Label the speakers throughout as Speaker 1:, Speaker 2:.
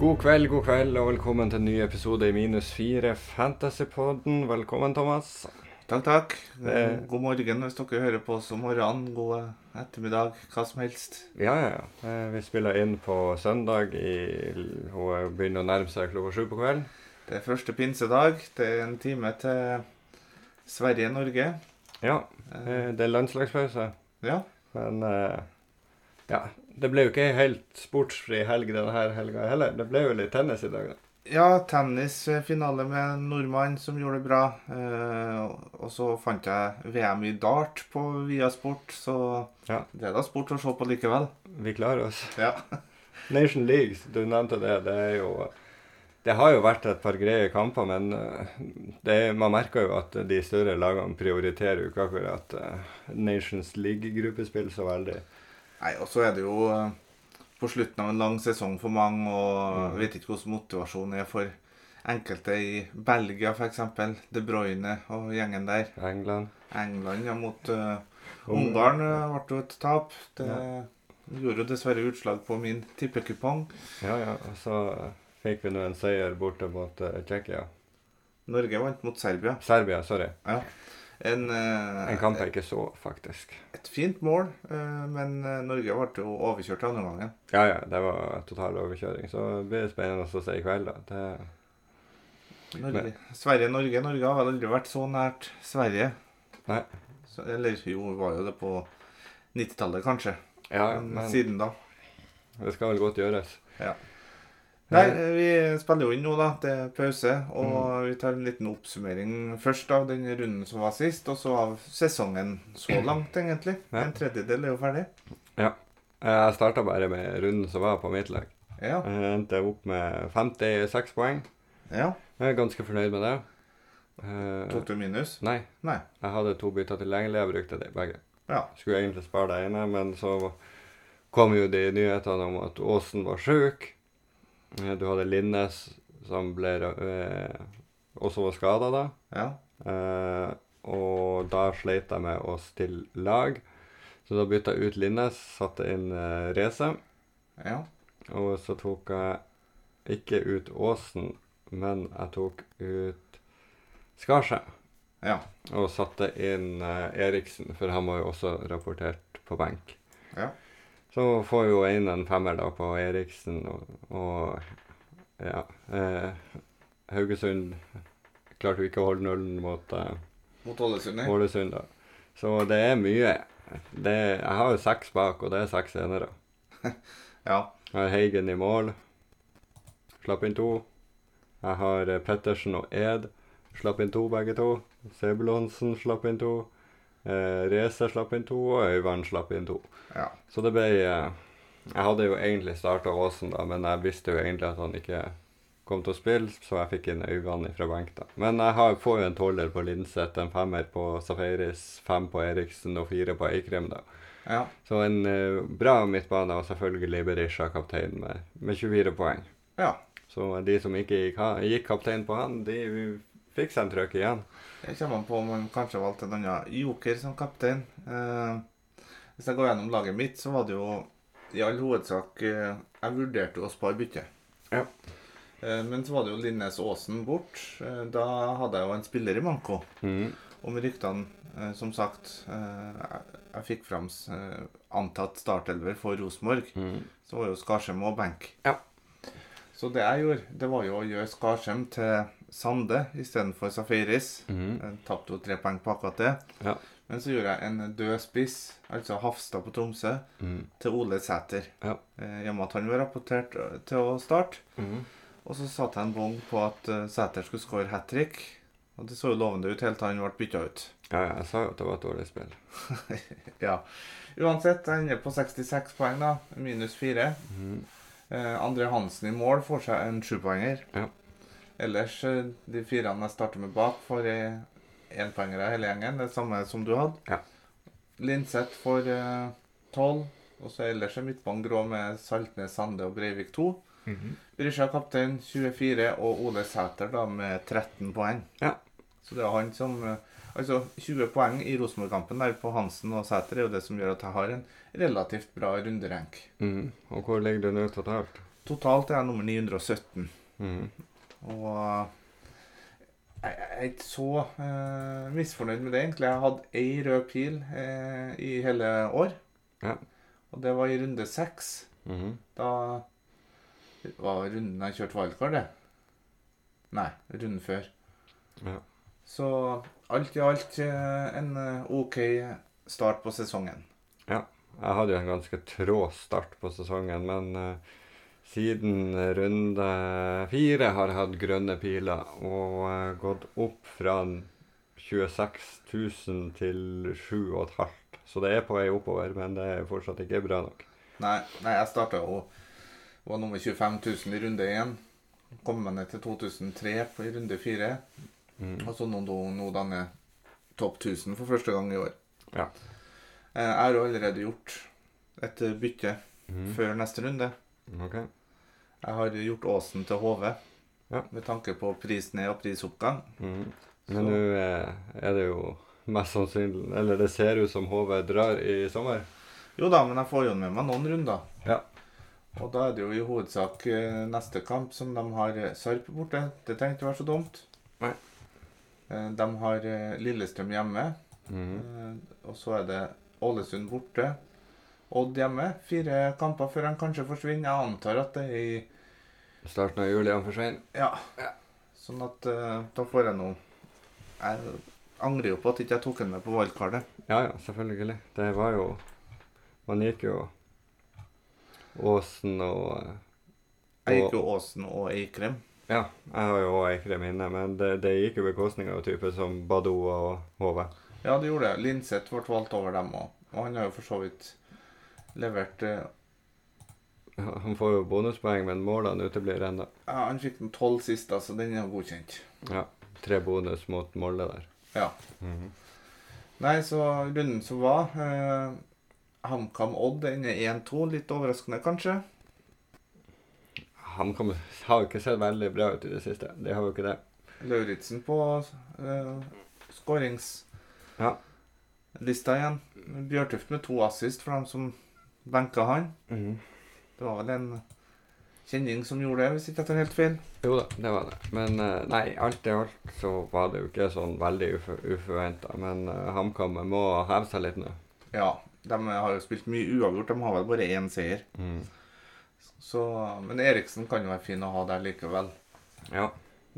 Speaker 1: God kveld, god kveld, og velkommen til en ny episode i Minus 4 Fantasypodden. Velkommen, Thomas.
Speaker 2: Takk, takk.
Speaker 1: Det-
Speaker 2: God morgen hvis dere hører på oss om morgenen. God ettermiddag, hva som helst.
Speaker 1: Ja, ja, ja. Eh, Vi spiller inn på søndag. I, hun er- begynner å nærme seg klokka sju på kvelden.
Speaker 2: Det er første pinsedag. Det er en time til Sverige-Norge.
Speaker 1: Ja,
Speaker 2: Eh,
Speaker 1: eh, det er landslagspause.
Speaker 2: Ja.
Speaker 1: Men eh, ja, det ble jo ikke ei helt sportsfri helg denne her helga heller. Det ble jo litt tennis i dag, da.
Speaker 2: ja, tennisfinale med en nordmann som gjorde det bra. Eh, Og så fant jeg VM i dart på Viasport, så
Speaker 1: Ja.
Speaker 2: det er da sport å se på likevel.
Speaker 1: Vi klarer oss.
Speaker 2: Ja.
Speaker 1: Nation League, du nevnte det. Det er jo Det har jo vært et par greie kamper, men eh, det, er- man merker jo at de større lagene prioriterer jo ikke akkurat eh, Nations League-gruppespill så veldig.
Speaker 2: Nei, og så er det jo eh, på slutten av en lang sesong for mange, og
Speaker 1: Mm.
Speaker 2: jeg vet ikke hvordan motivasjonen er for enkelte i Belgia, f.eks. De Bruyne og gjengen der.
Speaker 1: England.
Speaker 2: England ja, mot eh,
Speaker 1: Om-
Speaker 2: Ungarn eh, ble jo et tap. Det gjorde jo dessverre utslag på min tippekupong.
Speaker 1: Ja, ja. Og så fikk vi nå en seier borte mot eh, Tsjekkia.
Speaker 2: Norge vant mot Serbia.
Speaker 1: Serbia, sorry.
Speaker 2: En, eh,
Speaker 1: En kamp jeg ikke så, faktisk.
Speaker 2: Et fint mål, eh, men eh, Norge ble jo overkjørt i andre gangen.
Speaker 1: Ja, ja. Det var total overkjøring. Så det blir det spennende å se i kveld, da. Det
Speaker 2: Norge. Sverige-Norge. Norge har vel aldri vært så nært Sverige.
Speaker 1: Nei.
Speaker 2: Så, eller jo, var jo det på 90-tallet, kanskje.
Speaker 1: ja,
Speaker 2: men,
Speaker 1: men
Speaker 2: siden da.
Speaker 1: det skal vel godt gjøres.
Speaker 2: Ja. Nei,
Speaker 1: Nei,
Speaker 2: vi spiller jo inn nå, da. Det er pause. Og
Speaker 1: Mm.
Speaker 2: vi tar en liten oppsummering først av den runden som var sist, og så av sesongen så langt, egentlig.
Speaker 1: Ja.
Speaker 2: En tredjedel er jo ferdig.
Speaker 1: jeg starta bare med runden som var på mitt lag.
Speaker 2: Ja.
Speaker 1: Jeg endte opp med 56 poeng.
Speaker 2: ja.
Speaker 1: Jeg er ganske fornøyd med det. Eh,
Speaker 2: Tok du minus?
Speaker 1: nei,
Speaker 2: Nei.
Speaker 1: jeg hadde to bytter tilgjengelig. Jeg brukte de begge.
Speaker 2: Ja.
Speaker 1: Skulle egentlig spare det ene, men så kom jo de nyhetene om at Aasen var sjuk. Eh, Du hadde Linnes som ble eh, også var skada da.
Speaker 2: Ja.
Speaker 1: Eh, og da sleit jeg med å stille lag. Så da bytta jeg ut Linnes, satte inn eh, Reze.
Speaker 2: Ja.
Speaker 1: Og så tok jeg ikke ut Åsen, men jeg tok ut Skarsheim.
Speaker 2: Ja.
Speaker 1: Og satte inn eh, Eriksen, for han var jo også rapportert på benk.
Speaker 2: Ja.
Speaker 1: Så får jo inn en femmer da på Eriksen og, og ja. Eh, Haugesund klarte jo ikke å holde nullen mot eh,
Speaker 2: Mot Ålesund? ja.
Speaker 1: Ålesund, da. Så det er mye. Det, jeg har jo seks bak, og det er seks enere.
Speaker 2: Ja.
Speaker 1: Jeg har Heigen i mål. Slapp inn to. Jeg har eh, Pettersen og Ed. Slapp inn to, begge to. Sebulonsen slapp inn to. Eh, Reze slapp inn to, og Øyvand slapp inn to.
Speaker 2: Ja.
Speaker 1: Så det ble eh, Jeg hadde jo egentlig starta Aasen, da, men jeg visste jo egentlig at han ikke kom til å spille, så jeg fikk inn Øyvand fra benk, da. Men jeg har, får jo en tolver på Linseth, en femmer på Safaris, fem på Eriksen og fire på Eikrem, da.
Speaker 2: ja.
Speaker 1: Så en eh, bra midtbane, og selvfølgelig Berisha kaptein med, med 24 poeng.
Speaker 2: ja.
Speaker 1: Så de som ikke gikk, ha- gikk kaptein på han, de fikk seg en trøkk igjen.
Speaker 2: Jeg kommer an på om han kanskje valgte en annen joker som kaptein. Eh, hvis jeg går gjennom laget mitt, så var det jo i all hovedsak eh, Jeg vurderte jo å spare byttet.
Speaker 1: Ja.
Speaker 2: Eh, men så var det jo Linnes Aasen bort. Eh, da hadde jeg jo en spiller i manko.
Speaker 1: Mhm.
Speaker 2: Og med ryktene, eh, som sagt eh, jeg, jeg fikk fram eh, antatt startelver for Rosenborg,
Speaker 1: Mhm.
Speaker 2: så var jo Skarsheim og benk.
Speaker 1: Ja.
Speaker 2: Så det jeg gjorde, det var jo å gjøre Skarsheim til Sande istedenfor Safaris.
Speaker 1: Mhm.
Speaker 2: Jeg tapte jo tre poeng på akkurat det.
Speaker 1: Ja.
Speaker 2: Men så gjorde jeg en død spiss, altså Hafstad på Tromsø,
Speaker 1: Mhm.
Speaker 2: til Ole Sæter.
Speaker 1: Ja.
Speaker 2: Eh, I og med at han var rapportert eh, til å starte.
Speaker 1: Mhm.
Speaker 2: Og så satte jeg en bong på at eh, Sæter skulle skåre hat trick. Og det så jo lovende ut helt til han ble bytta ut.
Speaker 1: Ja, ja, jeg sa jo at det var et dårlig spill.
Speaker 2: Ja. Uansett, jeg ender på 66 poeng, da. Minus 4.
Speaker 1: Mhm.
Speaker 2: Eh, André Hansen i mål får seg en sjupoenger.
Speaker 1: Ja.
Speaker 2: Ellers, eh, de firene jeg starter med bak, får enpoengere hele gjengen. Det samme som du hadde.
Speaker 1: Ja.
Speaker 2: Linseth får eh, tolv. og så ellers er midtbanen grå med Saltnes, Sande og Breivik 2. Brisja kaptein 24 og Ole Sæter da med 13 poeng.
Speaker 1: Ja.
Speaker 2: Så det er han som eh, Altså 20 poeng i Rosenborg-kampen der på Hansen og Sæter er jo det som gjør at jeg har en relativt bra runderenk.
Speaker 1: Mhm. Og hvor ligger du nå totalt?
Speaker 2: Totalt er jeg nummer 917.
Speaker 1: Mhm.
Speaker 2: Og jeg jeg er ikke så eh, misfornøyd med det, egentlig. Jeg hadde ei rød pil eh, i hele år.
Speaker 1: Ja.
Speaker 2: Og det var i runde seks.
Speaker 1: Mhm.
Speaker 2: Da var runden jeg kjørte wildcard, det. Nei, runden før.
Speaker 1: Ja.
Speaker 2: Så alt i alt eh, en eh, OK start på sesongen.
Speaker 1: Jeg hadde jo en ganske trå start på sesongen, men eh, siden runde fire har jeg hatt grønne piler og eh, gått opp fra 26 000 til 7,5. Så det er på vei oppover, men det er fortsatt ikke bra nok.
Speaker 2: Nei, nei jeg starta jo var nummer 25 000 i runde én. Kom meg ned til 2003 på i runde fire.
Speaker 1: Mm.
Speaker 2: Og så nå, nå, nå danner jeg topp 1000 for første gang i år.
Speaker 1: Ja.
Speaker 2: Eh, Jeg har jo allerede gjort et eh, bytte
Speaker 1: Mhm.
Speaker 2: før neste runde.
Speaker 1: Ok.
Speaker 2: Jeg har gjort Åsen til HV
Speaker 1: Ja.
Speaker 2: med tanke på pris ned og prisoppgang.
Speaker 1: Mhm.
Speaker 2: Så-
Speaker 1: Men nå eh, er det jo mest sannsynlig Eller det ser ut som HV drar i sommer.
Speaker 2: Jo da, men jeg får jo med meg noen runder.
Speaker 1: Ja.
Speaker 2: Og da er det jo i hovedsak eh, neste kamp som de har eh, Sarp borte. Det trenger ikke være så dumt.
Speaker 1: Nei.
Speaker 2: Eh, De har eh, Lillestrøm hjemme,
Speaker 1: Mhm.
Speaker 2: eh, og så er det Ålesund borte. Odd hjemme. Fire kamper før han kanskje forsvinner. Jeg antar at det er i
Speaker 1: Starten av juli han forsvinner.
Speaker 2: Ja. Sånn at eh, da får jeg noe Jeg angrer jo på at ikke jeg tok den med på wildcardet.
Speaker 1: Ja, ja, selvfølgelig. Det var jo Man gikk jo Åsen og eh,
Speaker 2: Jeg gikk jo Åsen og Eikrem.
Speaker 1: Ja, jeg har jo òg Eikrem inne, men det, det gikk jo bekostning av typer som Badou og HV.
Speaker 2: Ja, det gjorde jeg. Linseth ble valgt over dem òg. Og han har jo for så vidt levert eh,
Speaker 1: Han får jo bonuspoeng, men målene uteblir ennå.
Speaker 2: ja, Han fikk den tolv sist, så den er jo godkjent.
Speaker 1: Ja, tre bonus mot Molde der.
Speaker 2: Ja. Nei, så runden som var eh, HamKam Odd ender 1-2. Litt overraskende, kanskje.
Speaker 1: Han kom, har jo ikke sett veldig bra ut i det siste. De har jo ikke det.
Speaker 2: Lauritzen på eh, skåringslista
Speaker 1: Ja.
Speaker 2: igjen. Bjørtuft med to assist for dem som benka han. Det var vel en kjenning som gjorde det, hvis ikke jeg tar helt feil.
Speaker 1: Jo da, det var det. Men eh, nei, alt i alt så var det jo ikke sånn veldig uforventa. Men eh, HamKam må heve seg litt nå.
Speaker 2: Ja, de har jo spilt mye uavgjort. De har vel bare én seier. Så, men Eriksen kan jo være fin å ha der likevel.
Speaker 1: Ja.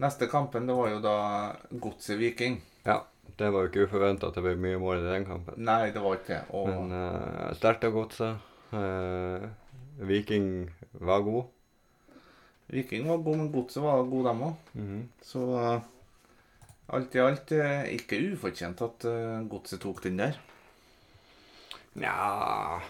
Speaker 2: Neste kampen det var jo da Godset Viking.
Speaker 1: Det var jo ikke uforventa at det ble mye mål i den kampen.
Speaker 2: Nei, det var ikke det. Og
Speaker 1: Men eh, sterkt av godset. Eh, Viking var god.
Speaker 2: Viking var god, men Godset var god, dem òg.
Speaker 1: Mhm.
Speaker 2: Så eh, alt i alt eh, ikke ufortjent at eh, Godset tok den der.
Speaker 1: Nja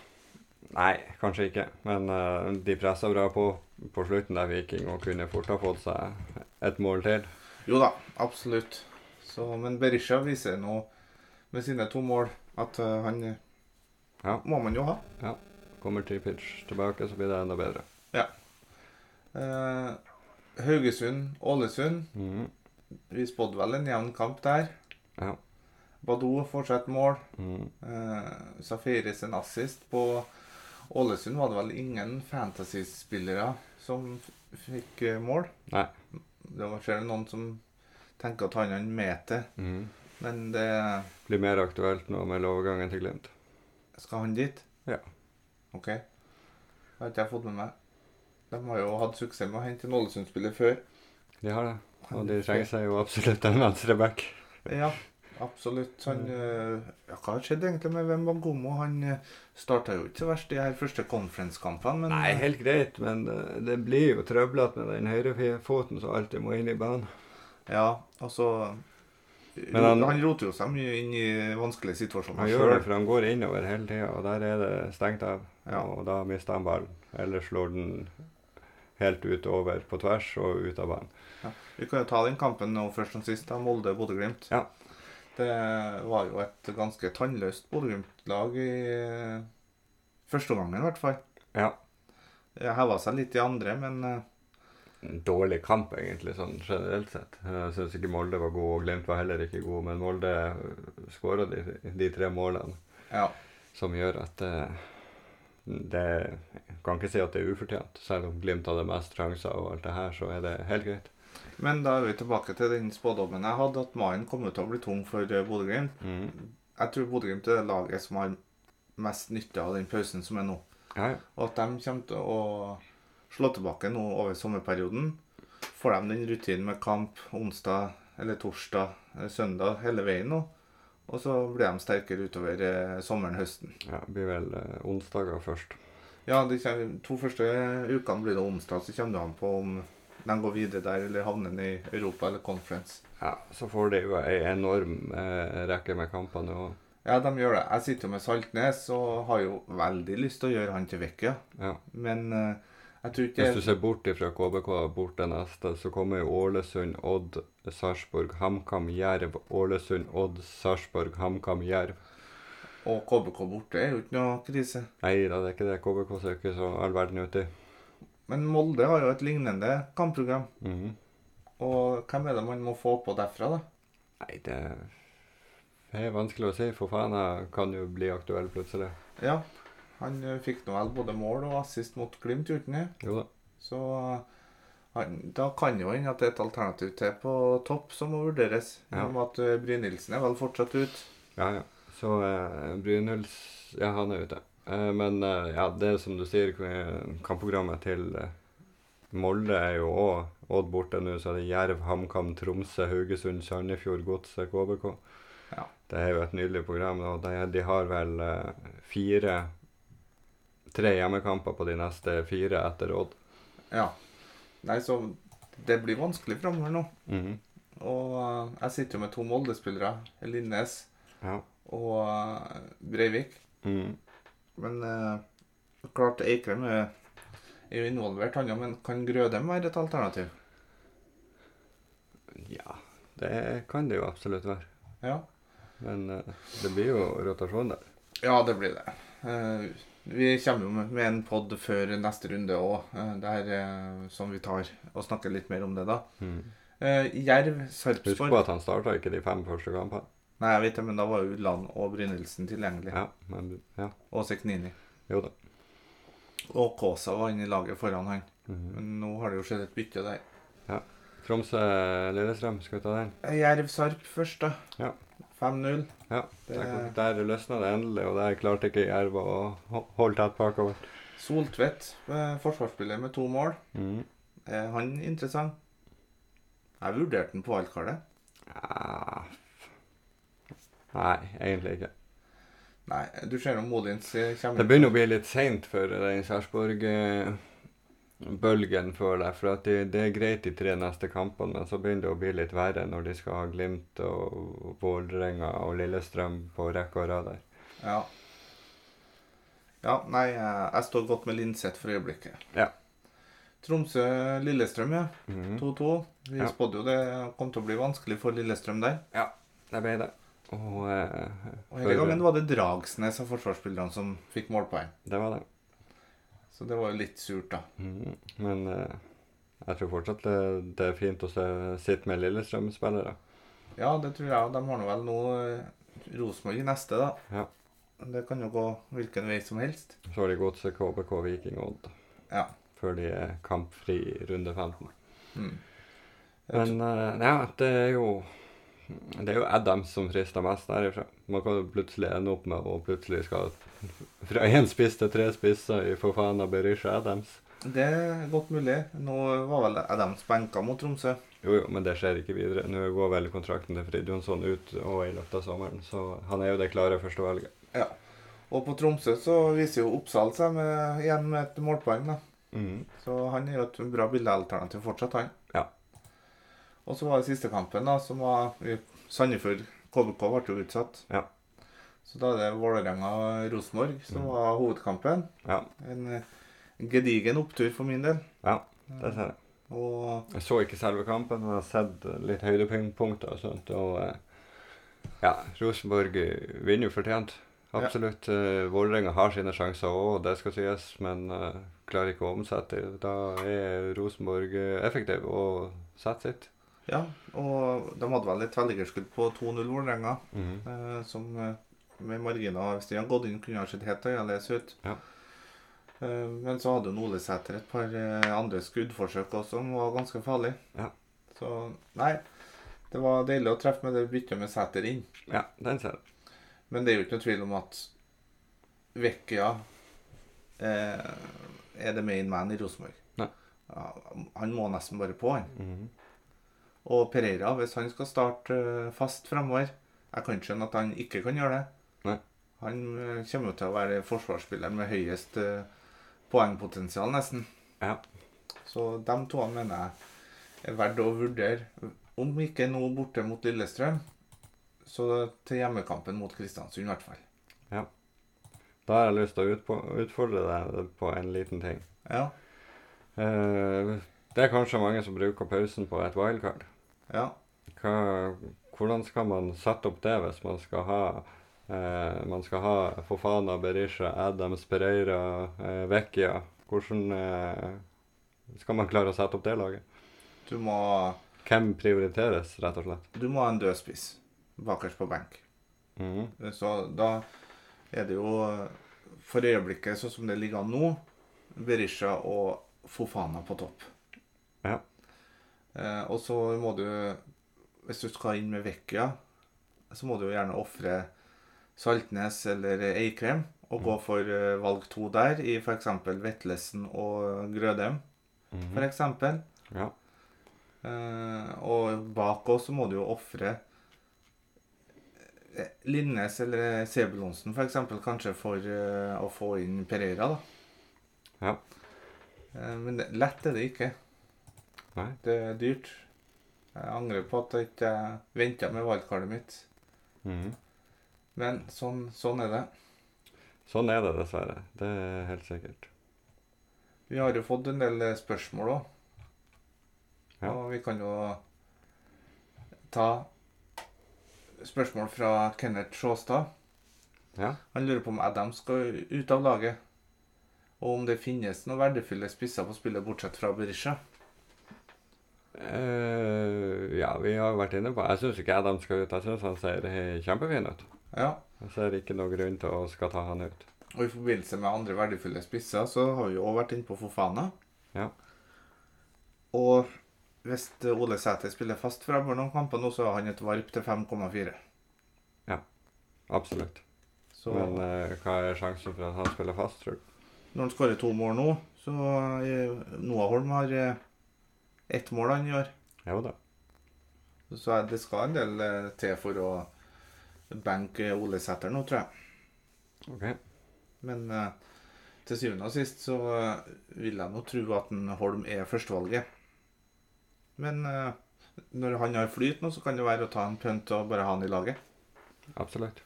Speaker 1: Nei, kanskje ikke. Men eh, de pressa bra på på slutten der Viking og kunne fort ha fått seg et mål til.
Speaker 2: Jo da, absolutt. Så, men Berisha viser nå med sine to mål at eh, han eh,
Speaker 1: Ja.
Speaker 2: må man jo ha.
Speaker 1: Kommer Tripic tilbake, så blir det enda bedre.
Speaker 2: Eh, Haugesund, Ålesund.
Speaker 1: Mhm.
Speaker 2: Vi spådde vel en jevn kamp der.
Speaker 1: Ja.
Speaker 2: Badou får seg et mål.
Speaker 1: Mhm.
Speaker 2: Eh, Safaris en assist. På Ålesund var det vel ingen fantasyspillere som f- fikk eh, mål.
Speaker 1: Nei.
Speaker 2: Det var selv noen som tenker at han er en meter,
Speaker 1: Mhm.
Speaker 2: men det
Speaker 1: Blir mer aktuelt nå med overgangen til Glimt.
Speaker 2: skal han dit?
Speaker 1: Ja.
Speaker 2: OK. Det har ikke jeg fått med meg. De har jo hatt suksess med å hente en Ålesund-spiller før.
Speaker 1: De har det. Og de trenger seg jo absolutt en venstreback.
Speaker 2: Ja, absolutt. Han, eh, ja, hva har skjedd egentlig med Wembangomo? Han starta jo ikke så verst de her første konferanskampene, men eh,
Speaker 1: Nei, helt greit, men eh, det blir jo trøblete med den høyrefoten som alltid må inn i banen.
Speaker 2: Ja, altså
Speaker 1: Men
Speaker 2: han,
Speaker 1: han-
Speaker 2: roter jo seg mye inn i vanskelige situasjoner
Speaker 1: Han gjør det,
Speaker 2: selv.
Speaker 1: for han går innover hele tida, og der er det stengt av.
Speaker 2: Ja.
Speaker 1: Og da mister han ballen. Eller slår den helt ut over på tvers og ut av banen.
Speaker 2: Vi kan jo ta den kampen nå først som sist, da. Molde-Bodø-Glimt.
Speaker 1: Ja.
Speaker 2: Det var jo et ganske tannløst Bodø-Glimt-lag i eh, første omgangen, i hvert fall.
Speaker 1: Ja.
Speaker 2: Det heva seg litt i andre, men eh,
Speaker 1: En dårlig kamp, egentlig, sånn generelt sett. Jeg syns ikke Molde var god, og Glimt var heller ikke god, men Molde eh, skåra de, de tre målene
Speaker 2: ja.
Speaker 1: som gjør at eh, det jeg kan ikke si at det er ufortjent. Selv om Glimt hadde mest sjanser og alt det her, så er det helt greit.
Speaker 2: Men da er vi tilbake til den spådommen jeg hadde, at maien kommer til å bli tung for eh, Bodø-Glimt.
Speaker 1: Mhm.
Speaker 2: Jeg tror Bodø-Glimt er det laget som har mest nytte av den pausen som er nå.
Speaker 1: Ja, ja.
Speaker 2: Og at de kommer til å slå tilbake nå over sommerperioden. Får de den rutinen med kamp onsdag eller torsdag, eh, søndag hele veien nå. Og så blir de sterkere utover eh, sommeren, høsten.
Speaker 1: ja blir vel eh, onsdager først.
Speaker 2: Ja, de kommer, to første ukene blir det onsdag, så kommer det an på om de går videre der eller havner i Europa eller Conference.
Speaker 1: Ja, så får de jo ei enorm eh, rekke med kamper nå.
Speaker 2: Ja, de gjør det. Jeg sitter jo med Saltnes og har jo veldig lyst til å gjøre han til Vekkia.
Speaker 1: Ja.
Speaker 2: Men eh, jeg tror ikke
Speaker 1: Hvis du ser bort ifra KBK, bort til neste, så kommer jo Ålesund, Odd, Sarpsborg, HamKam, Jerv. Ålesund, Odd, Sarpsborg, HamKam, Jerv.
Speaker 2: Og KBK borte er jo ikke noe krise.
Speaker 1: Nei da, det er ikke det. KBK ser ikke så all verden ut i.
Speaker 2: Men Molde har jo et lignende kampprogram.
Speaker 1: Mhm.
Speaker 2: Og hvem er det man må få på derfra, da?
Speaker 1: Nei, det det er vanskelig å si. For faen, jeg kan jo bli aktuell plutselig.
Speaker 2: Ja, han eh, fikk nå vel både mål og assist mot Glimt, gjorde han det?
Speaker 1: Jo da.
Speaker 2: Så han, da kan jo hende at det er et alternativ til på topp som må vurderes.
Speaker 1: Ja.
Speaker 2: Ja. Om at eh, Brynildsen er vel fortsatt ute.
Speaker 1: Ja, ja. Så eh, Brynhilds Ja, han er ute. Eh, men eh, ja, det er som du sier, eh, kampprogrammet til eh, Molde er jo òg Odd borte nå, så er det Jerv, HamKam, Tromsø, Haugesund, Sandefjord, Godset, KBK.
Speaker 2: Ja.
Speaker 1: Det er jo et nydelig program. og De, de har vel eh, fire Tre hjemmekamper på de neste fire etter Odd.
Speaker 2: Ja. Nei, så det blir vanskelig framover nå.
Speaker 1: Mhm.
Speaker 2: Og eh, jeg sitter jo med to Molde-spillere. Linnes
Speaker 1: Ja.
Speaker 2: og eh, Breivik.
Speaker 1: Mhm.
Speaker 2: Men eh, klart Eikrem er, er jo involvert, han ja, men kan Grødem være et alternativ?
Speaker 1: Ja, det kan det jo absolutt være.
Speaker 2: Ja,
Speaker 1: Men eh, det blir jo rotasjon der.
Speaker 2: ja det blir det. Eh, vi kommer jo med med en pod før neste runde òg, der eh, som vi tar og snakker litt mer om det, da.
Speaker 1: Mhm.
Speaker 2: Eh, Jerv,
Speaker 1: Husk på
Speaker 2: Sarpsborg
Speaker 1: at han starta ikke de fem første kampene.
Speaker 2: Nei, jeg vet det, men da var jo Land og Brynildsen tilgjengelig.
Speaker 1: Ja, men ja,
Speaker 2: Og Seknini.
Speaker 1: jo da.
Speaker 2: Og Kaasa var inne i laget foran han.
Speaker 1: Mhm.
Speaker 2: Men nå har det jo skjedd et bytte der.
Speaker 1: Tromsø-Lillestrøm, skal vi ta den?
Speaker 2: Jerv-Sarp først, da.
Speaker 1: Ja.
Speaker 2: 5-0.
Speaker 1: Ja, Der,
Speaker 2: Det-
Speaker 1: der løsna det endelig, og der klarte ikke Jerv å ho- holde tett bakover.
Speaker 2: Soltvedt, eh, forsvarsspiller med to mål.
Speaker 1: Mhm.
Speaker 2: Er han interessant? Jeg vurderte han på wildcardet.
Speaker 1: Ah. Nei, egentlig ikke.
Speaker 2: Nei, du ser om Molins eh,
Speaker 1: Det
Speaker 2: kommer
Speaker 1: begynner å bli litt seint for eh, den Sarpsborg-bølgen, føler jeg. For at det, det er greit de tre neste kampene, men så begynner det å bli litt verre når de skal ha Glimt og Vålerenga og Lillestrøm på rekke og rad der.
Speaker 2: Ja. ja, nei, eh, jeg står godt med Linseth for øyeblikket.
Speaker 1: Ja.
Speaker 2: Tromsø-Lillestrøm, ja.
Speaker 1: Mhm.
Speaker 2: 2-2. Vi
Speaker 1: Ja.
Speaker 2: spådde jo det kom til å bli vanskelig for Lillestrøm der.
Speaker 1: Det ble det. Og, eh,
Speaker 2: Og hele
Speaker 1: for-
Speaker 2: gangen var det Dragsnes av forsvarsspillerne som fikk målpoeng.
Speaker 1: Det var det.
Speaker 2: Så det var jo litt surt, da.
Speaker 1: Mhm. Men eh, jeg tror fortsatt eh, det, det er fint å se, sitte med Lillestrøm-spillere.
Speaker 2: Ja, det tror jeg. De har nå vel nå eh, Rosenborg i neste, da.
Speaker 1: Ja.
Speaker 2: Det kan jo gå hvilken vei som helst.
Speaker 1: Så har de Godset, KBK, Viking og Odd
Speaker 2: Ja.
Speaker 1: før de er kampfri i runde 15.
Speaker 2: Mm. Jeg
Speaker 1: Men eh, ja, det er jo det er jo Adams som frister mest derifra. Man kan jo plutselig ende opp med å plutselig skal fra én spiss til tre spisser i for faen av Berisha Adams.
Speaker 2: Det er godt mulig. Nå var vel Adams benka mot Tromsø.
Speaker 1: Jo, jo, men det skjer ikke videre. Nå går vel kontrakten til Frid Jonsson ut og i løpet av sommeren, så han er jo det klare førstevalget.
Speaker 2: Ja. Og på Tromsø så viser jo Oppsal seg med, igjen med et målpoeng, da.
Speaker 1: Mm.
Speaker 2: Så han er jo et bra bildealternativ fortsatt, han.
Speaker 1: Ja.
Speaker 2: Og så var det siste kampen, da, som var i Sandefjord. KBK ble jo utsatt.
Speaker 1: Ja.
Speaker 2: Så da er det Vålerenga-Rosenborg som
Speaker 1: Mm.
Speaker 2: var hovedkampen.
Speaker 1: Ja.
Speaker 2: En eh, gedigen opptur for min del.
Speaker 1: Ja, Det ser jeg.
Speaker 2: Og
Speaker 1: Jeg så ikke selve kampen, men jeg har sett litt høydepunkter og sånt. Og eh, ja, Rosenborg eh, vinner jo fortjent. Absolutt. Ja. Vålerenga har sine sjanser òg, det skal sies, men eh, klarer ikke å omsette. det. Da er Rosenborg eh, effektiv og setter sitt.
Speaker 2: ja, og de hadde vel et tverrliggerskudd på 2-0 Vålerenga.
Speaker 1: Mhm.
Speaker 2: eh, som eh, med marginer hvis de hadde gått inn, kunne ha sett helt annerledes ut.
Speaker 1: Ja.
Speaker 2: Eh, Men så hadde jo Ole Sæter et par eh, andre skuddforsøk også som var ganske farlig.
Speaker 1: Ja.
Speaker 2: Så nei, det var deilig å treffe med det byttet med Sæter inn.
Speaker 1: Ja, den ser jeg.
Speaker 2: Men det er jo ikke noe tvil om at Vecchia eh, er the main man i Rosenborg.
Speaker 1: Nei.
Speaker 2: Ja, han må nesten bare på, han.
Speaker 1: Mhm.
Speaker 2: Og Pereira, hvis han skal starte eh, fast fremover Jeg kan ikke skjønne at han ikke kan gjøre det.
Speaker 1: Nei.
Speaker 2: Han eh, kommer jo til å være forsvarsspilleren med høyest eh, poengpotensial, nesten.
Speaker 1: Ja.
Speaker 2: Så de to mener jeg er verdt å vurdere. Om ikke nå borte mot Lillestrøm, så til hjemmekampen mot Kristiansund, i hvert fall.
Speaker 1: Da har jeg lyst til å utpo- utfordre deg på en liten ting.
Speaker 2: Ja.
Speaker 1: Eh, det er kanskje mange som bruker pausen på et wildcard.
Speaker 2: ja.
Speaker 1: Hva, hvordan skal man sette opp det hvis man skal ha eh, man skal ha Fofana, Berisha, Adams, Pereira, eh, Vecchia? Hvordan eh, skal man klare å sette opp det laget?
Speaker 2: Du må,
Speaker 1: Hvem prioriteres, rett og slett?
Speaker 2: du må ha en dødspiss bakerst på benk.
Speaker 1: Mhm.
Speaker 2: Så da er det jo for øyeblikket, sånn som det ligger an nå, Berisha og Fofana på topp.
Speaker 1: Ja.
Speaker 2: Eh, og så må du, hvis du skal inn med Vecchia, så må du jo gjerne ofre Saltnes eller Eikrem og gå for eh, valg to der, i f.eks. Vetlesen og Grødem,
Speaker 1: Mhm.
Speaker 2: f.eks.
Speaker 1: Ja.
Speaker 2: Eh, og bak oss så må du jo ofre eh, Linnes eller Sebulonsen for eksempel, kanskje for eh, å få inn Pereira, da.
Speaker 1: Ja.
Speaker 2: Eh, men det, lett er det ikke.
Speaker 1: Nei.
Speaker 2: Det er dyrt. Jeg angrer på at jeg ikke venta med valgkartet mitt.
Speaker 1: Mhm.
Speaker 2: Men sånn, sånn er det.
Speaker 1: Sånn er det dessverre. Det er helt sikkert.
Speaker 2: Vi har jo fått en del eh, spørsmål òg.
Speaker 1: Ja.
Speaker 2: Og vi kan jo ta spørsmål fra Kenneth Sjåstad.
Speaker 1: Ja.
Speaker 2: Han lurer på om Adam skal ut av laget. Og om det finnes noen verdifulle spisser på spillet bortsett fra Berisha.
Speaker 1: Eh, ja, vi har vært inne på Jeg syns ikke Adam skal ut. Jeg syns han ser eh, kjempefin ut.
Speaker 2: Ja.
Speaker 1: Jeg ser ikke noen grunn til å skal ta han ut.
Speaker 2: Og i forbindelse med andre verdifulle spisser, så har vi jo også vært inne på Fofana.
Speaker 1: Ja.
Speaker 2: Og hvis Ole Sæter spiller fast fremover noen kamper nå, så har han et varp til 5,4.
Speaker 1: Absolutt.
Speaker 2: Så
Speaker 1: Men eh, hva er sjansen for at han spiller fast, tror du?
Speaker 2: når han skårer to mål nå, så eh, Noah Holm har eh, ett mål han gjør.
Speaker 1: Jo da.
Speaker 2: Så er- det skal en del eh, til for å benke Ole Sæter nå, tror jeg.
Speaker 1: Ok.
Speaker 2: Men eh, til syvende og sist så eh, vil jeg nå tro at en Holm er førstevalget. Men eh, når han har flyt nå, så kan det være å ta en pønt og bare ha han i laget.
Speaker 1: Absolutt.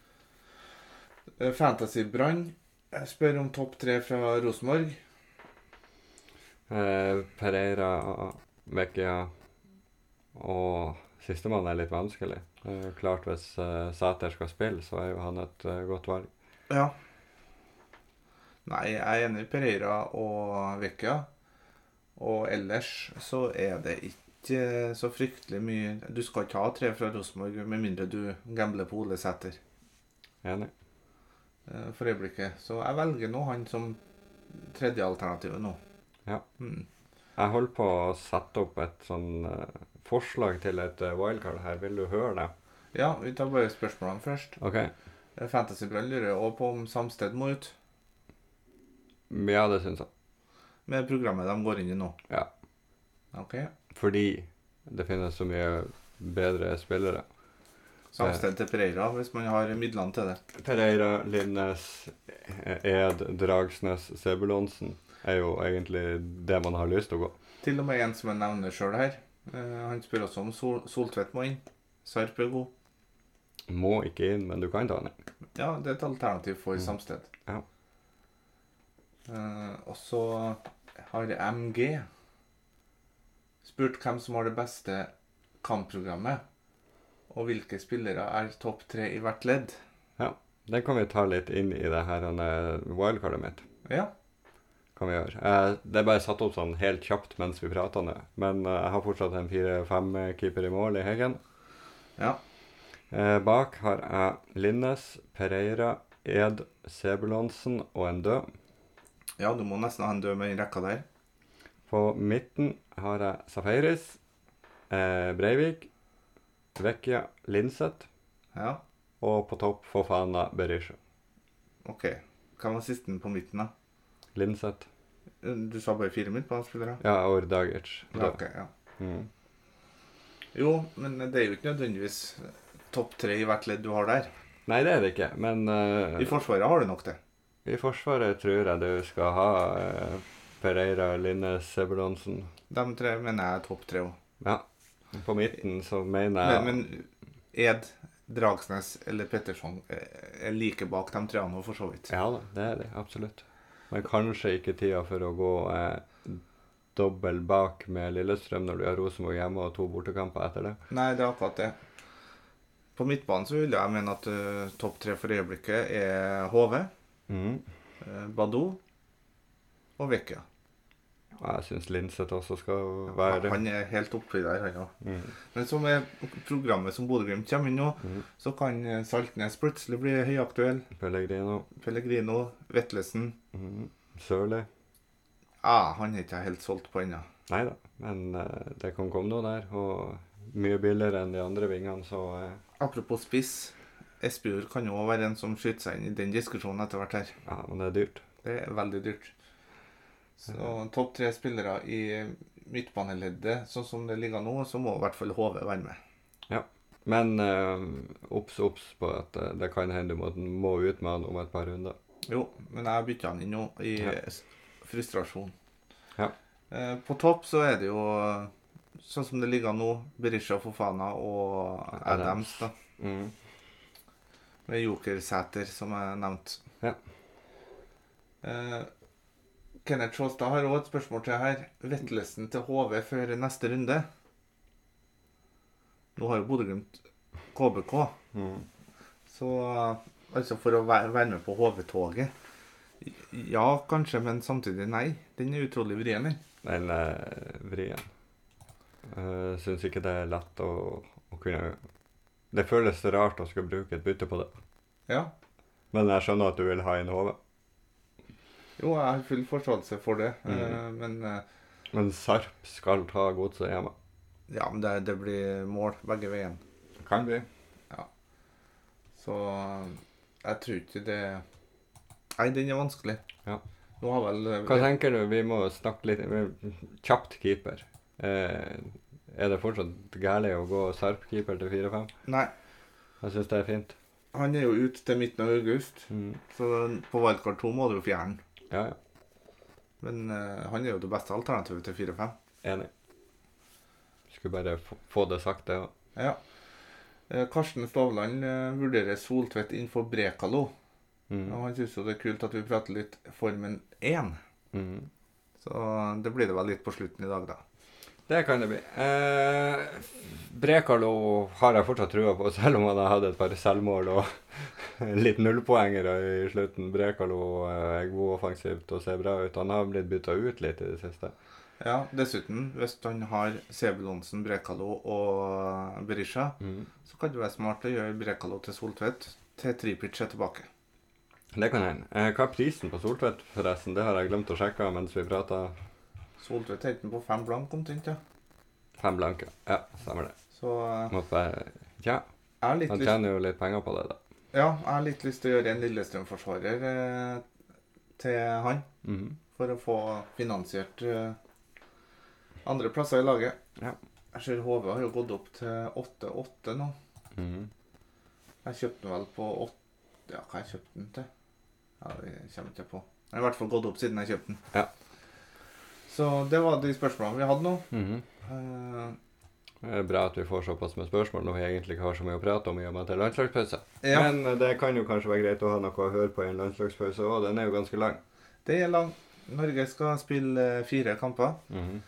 Speaker 2: Eh, Fantasy-Brann jeg spør om topp tre fra Rosenborg.
Speaker 1: Eh, Pereira, Vecchia og Sistemann er litt vanskelig. Eh, klart hvis eh, Sæter skal spille, så er jo han et eh, godt valg.
Speaker 2: Ja. Nei, jeg er enig i Pereira og Vecchia. Og ellers så er det ikke så fryktelig mye Du skal ikke ha tre fra Rosenborg med mindre du gambler på Ole Sæter.
Speaker 1: Enig.
Speaker 2: eh, for øyeblikket. Så jeg velger nå han som tredje alternativet nå.
Speaker 1: Ja.
Speaker 2: Mm.
Speaker 1: Jeg holder på å sette opp et sånn eh, forslag til et eh, wildcard her. Vil du høre det?
Speaker 2: ja, vi tar bare spørsmålene først.
Speaker 1: OK.
Speaker 2: Eh, Fantasybrann lurer også på om Samsted må ut
Speaker 1: Ja, det syns jeg.
Speaker 2: med programmet de går inn i nå.
Speaker 1: Ja.
Speaker 2: Ok.
Speaker 1: Fordi det finnes så mye bedre spillere.
Speaker 2: Samsted til Pereira hvis man har midlene til det.
Speaker 1: Pereira, Linnes, Ed, Dragsnes, Sebulonsen er jo egentlig det man har lyst til å gå.
Speaker 2: Til og med en som jeg nevner sjøl her. Eh, han spør også om Sol Soltvedt må inn. Sarp er god.
Speaker 1: Må ikke inn, men du kan ta den inn.
Speaker 2: Ja, det er et alternativ for Samsted.
Speaker 1: Ja.
Speaker 2: Eh, og så har MG spurt hvem som har det beste kampprogrammet, og hvilke spillere er topp tre i hvert ledd.
Speaker 1: Den kan vi ta litt inn i det her eh, wildcardet mitt.
Speaker 2: Ja,
Speaker 1: Kan vi gjøre. Eh, Det er bare satt opp sånn helt kjapt mens vi prater nå. Men eh, jeg har fortsatt en fire-fem-keeper i mål i Heggen.
Speaker 2: ja.
Speaker 1: Eh, Bak har jeg Linnes, Pereira, Ed, Sebulonsen og en død.
Speaker 2: Ja, du må nesten ha en død med i rekka der.
Speaker 1: På midten har jeg Safaris, eh, Breivik, Vekja, Linseth,
Speaker 2: Ja,
Speaker 1: og på topp Fofana Berisha.
Speaker 2: OK. Hvem var sisten på midten, da?
Speaker 1: Linseth.
Speaker 2: Du sa bare fire midtbanespillere?
Speaker 1: Ja, og Dagic.
Speaker 2: Ja, ok, ja.
Speaker 1: Mm.
Speaker 2: Jo, men det er jo ikke nødvendigvis topp tre i hvert ledd du har der.
Speaker 1: Nei, det er det ikke, men eh,
Speaker 2: I Forsvaret har du nok det.
Speaker 1: i Forsvaret tror jeg du skal ha eh, Pereira, Linnes, Sebulonsen.
Speaker 2: De tre mener jeg er topp tre òg.
Speaker 1: Ja. På midten så mener jeg
Speaker 2: Men, men Ed, Dragsnes eller Petterson eh, er like bak de treene for så vidt.
Speaker 1: Ja da, det er det. Absolutt. Men kanskje ikke tida for å gå eh, dobbel bak med Lillestrøm når du har Rosenborg hjemme og to bortekamper etter det.
Speaker 2: Nei, det er akkurat det. På midtbanen så vil jeg mene at eh, topp tre for øyeblikket er HV,
Speaker 1: Mm.
Speaker 2: eh, Badou og Vecchia.
Speaker 1: Og jeg syns Linseth også skal være
Speaker 2: Han er helt oppi der, han òg.
Speaker 1: mm.
Speaker 2: Men som er programmet som Bodø-Glimt kommer inn nå,
Speaker 1: Mhm.
Speaker 2: så kan eh, Saltnes plutselig bli høyaktuell.
Speaker 1: Pellegrino.
Speaker 2: Pellegrino, Vetlesen
Speaker 1: Mm. Sørli.
Speaker 2: ah, Han er ikke jeg helt solgt på ennå.
Speaker 1: Nei da, men eh, det kan komme noe der. Og mye billigere enn de andre vingene, så eh,
Speaker 2: Apropos spiss. Espejord kan jo også være en som skyter seg inn i den diskusjonen etter hvert her.
Speaker 1: ja, men det er dyrt.
Speaker 2: Det er veldig dyrt. Så topp tre spillere i midtbaneleddet, sånn som det ligger nå, så må i hvert fall HV være med.
Speaker 1: Men eh, obs, obs på at eh, det kan hende du må, må ut med han om et par runder.
Speaker 2: Jo, men jeg bytter han inn nå i
Speaker 1: Ja.
Speaker 2: s- frustrasjon.
Speaker 1: Ja.
Speaker 2: Eh, På topp så er det jo sånn som det ligger nå, Berisha Fofana og Adams,
Speaker 1: Adams.
Speaker 2: da.
Speaker 1: Mm.
Speaker 2: Med Jokersæter, som jeg nevnte.
Speaker 1: Ja.
Speaker 2: Eh, Kenneth Sjåstad har òg et spørsmål til her. Vettelsen til HV før neste runde? Nå har jo Bodø-Glimt KBK,
Speaker 1: Mm.
Speaker 2: så eh, altså for å være, være med på HV-toget Ja, kanskje, men samtidig nei. Den er utrolig vrien, den.
Speaker 1: Den er eh, vrien. Jeg syns ikke det er lett å, å kunne Det føles rart å skulle bruke et bytte på det.
Speaker 2: Ja.
Speaker 1: Men jeg skjønner at du vil ha inn HV.
Speaker 2: Jo, jeg har full forståelse for det, eh,
Speaker 1: Mhm.
Speaker 2: men eh,
Speaker 1: Men Sarp skal ta godset hjemme.
Speaker 2: Ja, men det, det blir mål begge veien.
Speaker 1: Kan bli.
Speaker 2: Så eh, jeg tror ikke det Nei, den er vanskelig.
Speaker 1: Ja.
Speaker 2: Nå har vel eh,
Speaker 1: Hva tenker du? Vi må snakke litt kjapt keeper. Eh, er det fortsatt gærlig å gå Sarp-keeper til 4-5?
Speaker 2: Nei,
Speaker 1: Jeg syns det er fint.
Speaker 2: han er jo ute til midten av august,
Speaker 1: Mm.
Speaker 2: så på Wildcard 2 må du jo fjerne han.
Speaker 1: Ja, ja.
Speaker 2: Men eh, han er jo det beste alternativet til 4-5.
Speaker 1: Enig. Skulle bare få- få det sagt, det òg.
Speaker 2: Ja. Eh, Karsten Stavland eh, vurderer Soltvedt innenfor Brekalo. Og
Speaker 1: Mm.
Speaker 2: han syns jo det er kult at vi prater litt Formen 1.
Speaker 1: Mm.
Speaker 2: Så det blir det vel litt på slutten i dag, da.
Speaker 1: Det kan det bli. Eh, Brekalo har jeg fortsatt trua på, selv om han har hatt et par selvmål og litt nullpoengere i slutten. Brekalo eh, er god offensivt og ser bra ut. Han har blitt bytta ut litt i det siste.
Speaker 2: Ja, Dessuten, hvis han har Sebulonsen, Brekalo og Berisha, så kan det være smart å gjøre Brekalo til Soltvedt til Tripic er tilbake.
Speaker 1: Det kan hende. Eh, hva er prisen på Soltvedt, forresten? Det har jeg glemt å sjekke mens vi prata.
Speaker 2: Soltvedt er enten på fem blank omtrent, ja.
Speaker 1: Fem blanke. Ja, stemmer det.
Speaker 2: Så eh,
Speaker 1: Må bare- Ja,
Speaker 2: jeg har litt,
Speaker 1: han
Speaker 2: lyst,
Speaker 1: tjener jo litt penger på det, da.
Speaker 2: ja, jeg har litt lyst til å gjøre en Lillestrøm-forsvarer eh, til han,
Speaker 1: Mhm.
Speaker 2: for å få finansiert eh, andre plasser i laget.
Speaker 1: Ja.
Speaker 2: Jeg ser HV har jo gått opp til 8-8 nå. Mm.
Speaker 1: Mhm.
Speaker 2: Jeg kjøpte den vel på 8... Ja, hva jeg kjøpte den til? Ja, det kommer ikke jeg på. Den har i hvert fall gått opp siden jeg kjøpte den.
Speaker 1: Ja.
Speaker 2: Så det var de spørsmålene vi hadde nå.
Speaker 1: Mhm.
Speaker 2: Eh,
Speaker 1: Det er bra at vi får såpass med spørsmål når vi egentlig ikke har så mye å prate om i og med at det er landslagspause.
Speaker 2: ja,
Speaker 1: Men eh, det kan jo kanskje være greit å ha noe å høre på i en landslagspause òg. Den er jo ganske lang.
Speaker 2: det er langt. Norge skal spille eh, fire kamper.
Speaker 1: Mhm.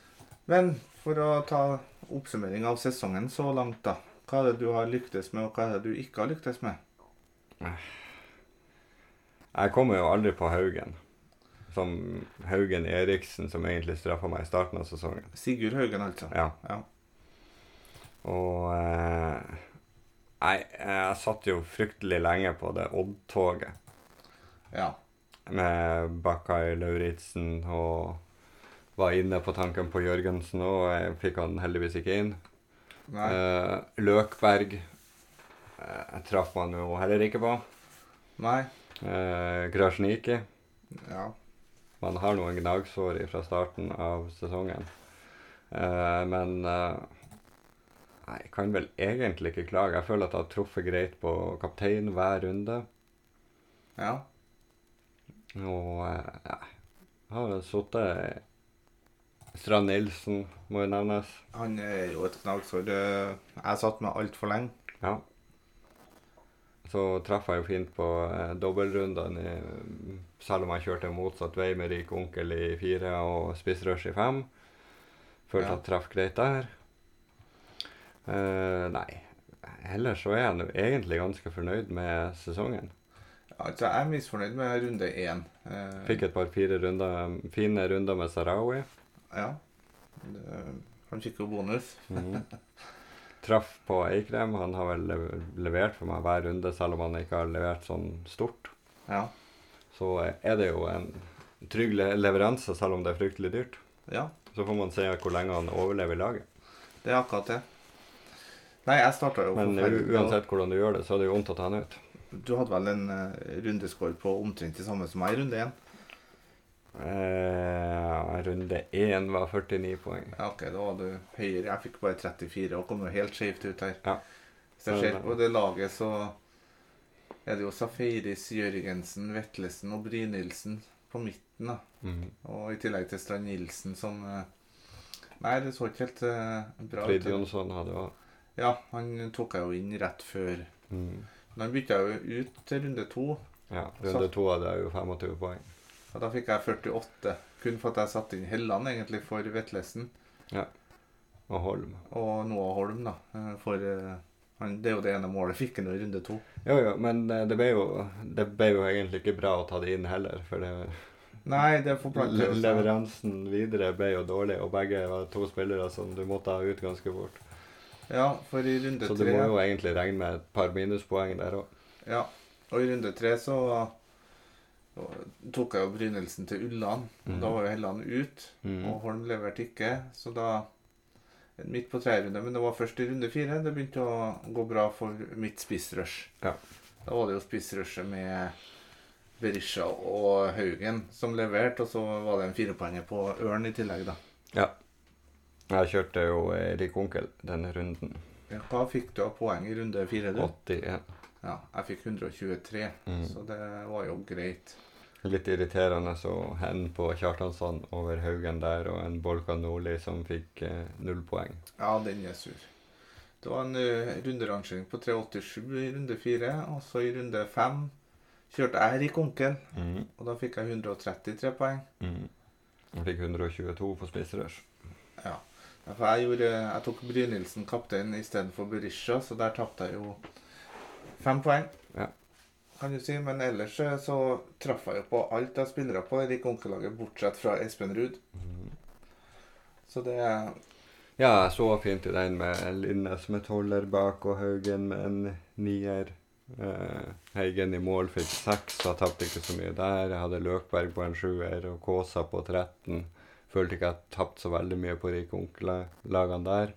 Speaker 2: Men for å ta oppsummering av sesongen så langt, da. Hva er det du har lyktes med, og hva er det du ikke har lyktes med?
Speaker 1: Jeg kommer jo aldri på Haugen. Som Haugen Eriksen, som egentlig straffa meg i starten av sesongen.
Speaker 2: Sigurd Haugen, altså.
Speaker 1: Ja.
Speaker 2: Ja.
Speaker 1: Og eh, Nei, jeg satt jo fryktelig lenge på det Odd-toget.
Speaker 2: Ja.
Speaker 1: med Bakkai Lauritzen og var inne på tanken på Jørgensen òg. Jeg fikk han heldigvis ikke inn.
Speaker 2: Nei.
Speaker 1: Eh, Løkberg eh, traff man jo heller ikke på.
Speaker 2: Nei.
Speaker 1: Eh, Krasjniki.
Speaker 2: Ja.
Speaker 1: Man har noen gnagsår fra starten av sesongen. Eh, men eh, nei, jeg kan vel egentlig ikke klage. Jeg føler at jeg har truffet greit på kaptein hver runde.
Speaker 2: Ja.
Speaker 1: Og eh, ja, jeg har sittet Strand Nilsen må jo nevnes.
Speaker 2: Han er jo et gnagsår. Det- Jeg satt med altfor lenge.
Speaker 1: Ja. Så traff jeg jo fint på eh, dobbeltrundene, i- selv om jeg kjørte motsatt vei med Rik onkel i fire og spissrush i fem. Følte
Speaker 2: Ja.
Speaker 1: at jeg traff greit der. Eh, nei, ellers så er jeg nå egentlig ganske fornøyd med sesongen.
Speaker 2: Altså, jeg er misfornøyd med runde én. Eh,
Speaker 1: Fikk et par fire runder, fine runder med Sarawi.
Speaker 2: Ja. Det- Han fikk jo bonus.
Speaker 1: Mhm. Traff på Eikrem. Han har vel le- levert for meg hver runde, selv om han ikke har levert sånn stort.
Speaker 2: Ja.
Speaker 1: Så eh, er det jo en trygg le- leveranse, selv om det er fryktelig dyrt.
Speaker 2: ja.
Speaker 1: Så får man se hvor lenge han overlever i laget.
Speaker 2: Det er akkurat det. Nei, jeg starta jo
Speaker 1: Men
Speaker 2: forferdelig
Speaker 1: u-
Speaker 2: bra.
Speaker 1: uansett hvordan du gjør det, så er det jo vondt å ta han ut.
Speaker 2: Du hadde vel en eh, rundescore på omtrent det samme som meg i runde én?
Speaker 1: Eh, runde én var 49 poeng.
Speaker 2: Ja, OK, da var du høyere. Jeg fikk bare 34 og kom jo helt skjevt ut her.
Speaker 1: Ja.
Speaker 2: Hvis jeg ser
Speaker 1: Så-
Speaker 2: på det laget, så er det jo Safaris, Jørgensen, Vetlesen og Brynildsen på midten, da.
Speaker 1: Mhm.
Speaker 2: Og i tillegg til Strand Nilsen som eh, Nei, det så ikke helt eh, bra
Speaker 1: Frid
Speaker 2: ut.
Speaker 1: Jonsson hadde òg.
Speaker 2: Ja, han tok jeg jo inn rett før.
Speaker 1: Mm.
Speaker 2: Men han bytta jo ut til runde to,
Speaker 1: Ja, runde to hadde jeg jo 25 poeng.
Speaker 2: og da fikk jeg 48. Kun for at jeg satte inn Helland, egentlig, for Vetlesen.
Speaker 1: Og Holm.
Speaker 2: Og Noah Holm, da. eh, For eh, han, det er jo det ene målet fikk han jo i runde to.
Speaker 1: Jo, jo, men eh, det ble jo, det ble jo egentlig ikke bra å ta det inn heller. For det,
Speaker 2: Nei, det forplanter
Speaker 1: le-
Speaker 2: jo seg.
Speaker 1: leveransen videre ble jo dårlig, og begge var to spillere som du måtte ha ut ganske fort.
Speaker 2: Ja, for i runde
Speaker 1: Så du
Speaker 2: tre
Speaker 1: må jo egentlig regne med et par minuspoeng der òg.
Speaker 2: Ja, og i runde tre så tok jeg jo Brynildsen til Ulland.
Speaker 1: Mhm.
Speaker 2: Da var jo Helland ut,
Speaker 1: Mm.
Speaker 2: og Holm leverte ikke. Så da Midt på tredje runde, men det var først i runde fire det begynte å gå bra for mitt spissrush.
Speaker 1: Ja.
Speaker 2: Da var det jo spissrushet med Berisha og Haugen som leverte, og så var det en firepoenger på Ørn i tillegg, da.
Speaker 1: Jeg kjørte jo eh, Rik Onkel denne runden.
Speaker 2: Ja, Hva fikk du av poeng i runde fire, du?
Speaker 1: 81.
Speaker 2: Ja, jeg fikk 123,
Speaker 1: Mm.
Speaker 2: så det var jo greit.
Speaker 1: Litt irriterende så hen på Kjartansson over Haugen der, og en Bolkan Nordli som fikk eh, null poeng.
Speaker 2: Ja, den er sur. Det var en eh, runderangering på 387 i runde fire, og så i runde fem kjørte jeg Rik Onkel, og da fikk jeg 133 poeng.
Speaker 1: Mm. Han fikk 122 på spissrush.
Speaker 2: Ja. Ja, For jeg, gjorde, jeg tok Brynildsen kaptein istedenfor Berisha, så der tapte jeg jo fem poeng.
Speaker 1: Ja.
Speaker 2: Kan du si, Men ellers eh, så traff jeg jo på alt jeg spillere på Rik Onkel-laget, bortsett fra Espen Ruud. Så det
Speaker 1: Ja, jeg så fint i den med Linnes med tolver bak og Haugen med en nier. Eh, Haugen i mål fikk seks, så jeg tapte ikke så mye der. Jeg hadde Løkberg på en sjuer og Kaasa på 13. Følte ikke at jeg tapte så veldig mye på Rik Onkel-lagene der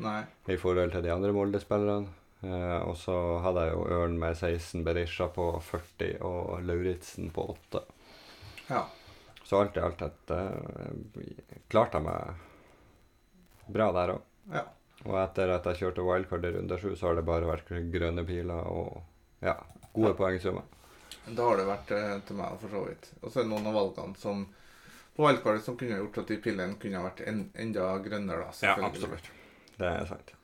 Speaker 2: Nei.
Speaker 1: i forhold til de andre Molde-spillerne. Eh, og så hadde jeg jo Ørn med 16, Berisha på 40 og Lauritzen på 8.
Speaker 2: Ja.
Speaker 1: Så alt i alt et, eh, klarte jeg meg bra der òg.
Speaker 2: ja.
Speaker 1: Og etter at jeg kjørte wildcard i runde sju, så har det bare vært grønne piler og ja, gode poengsummer.
Speaker 2: Da har det vært eh, til meg, for så vidt. Og så er det noen av valgene som på valgkartet som kunne gjort at de pillene kunne ha vært en, enda grønnere, da. selvfølgelig.
Speaker 1: Det er sant.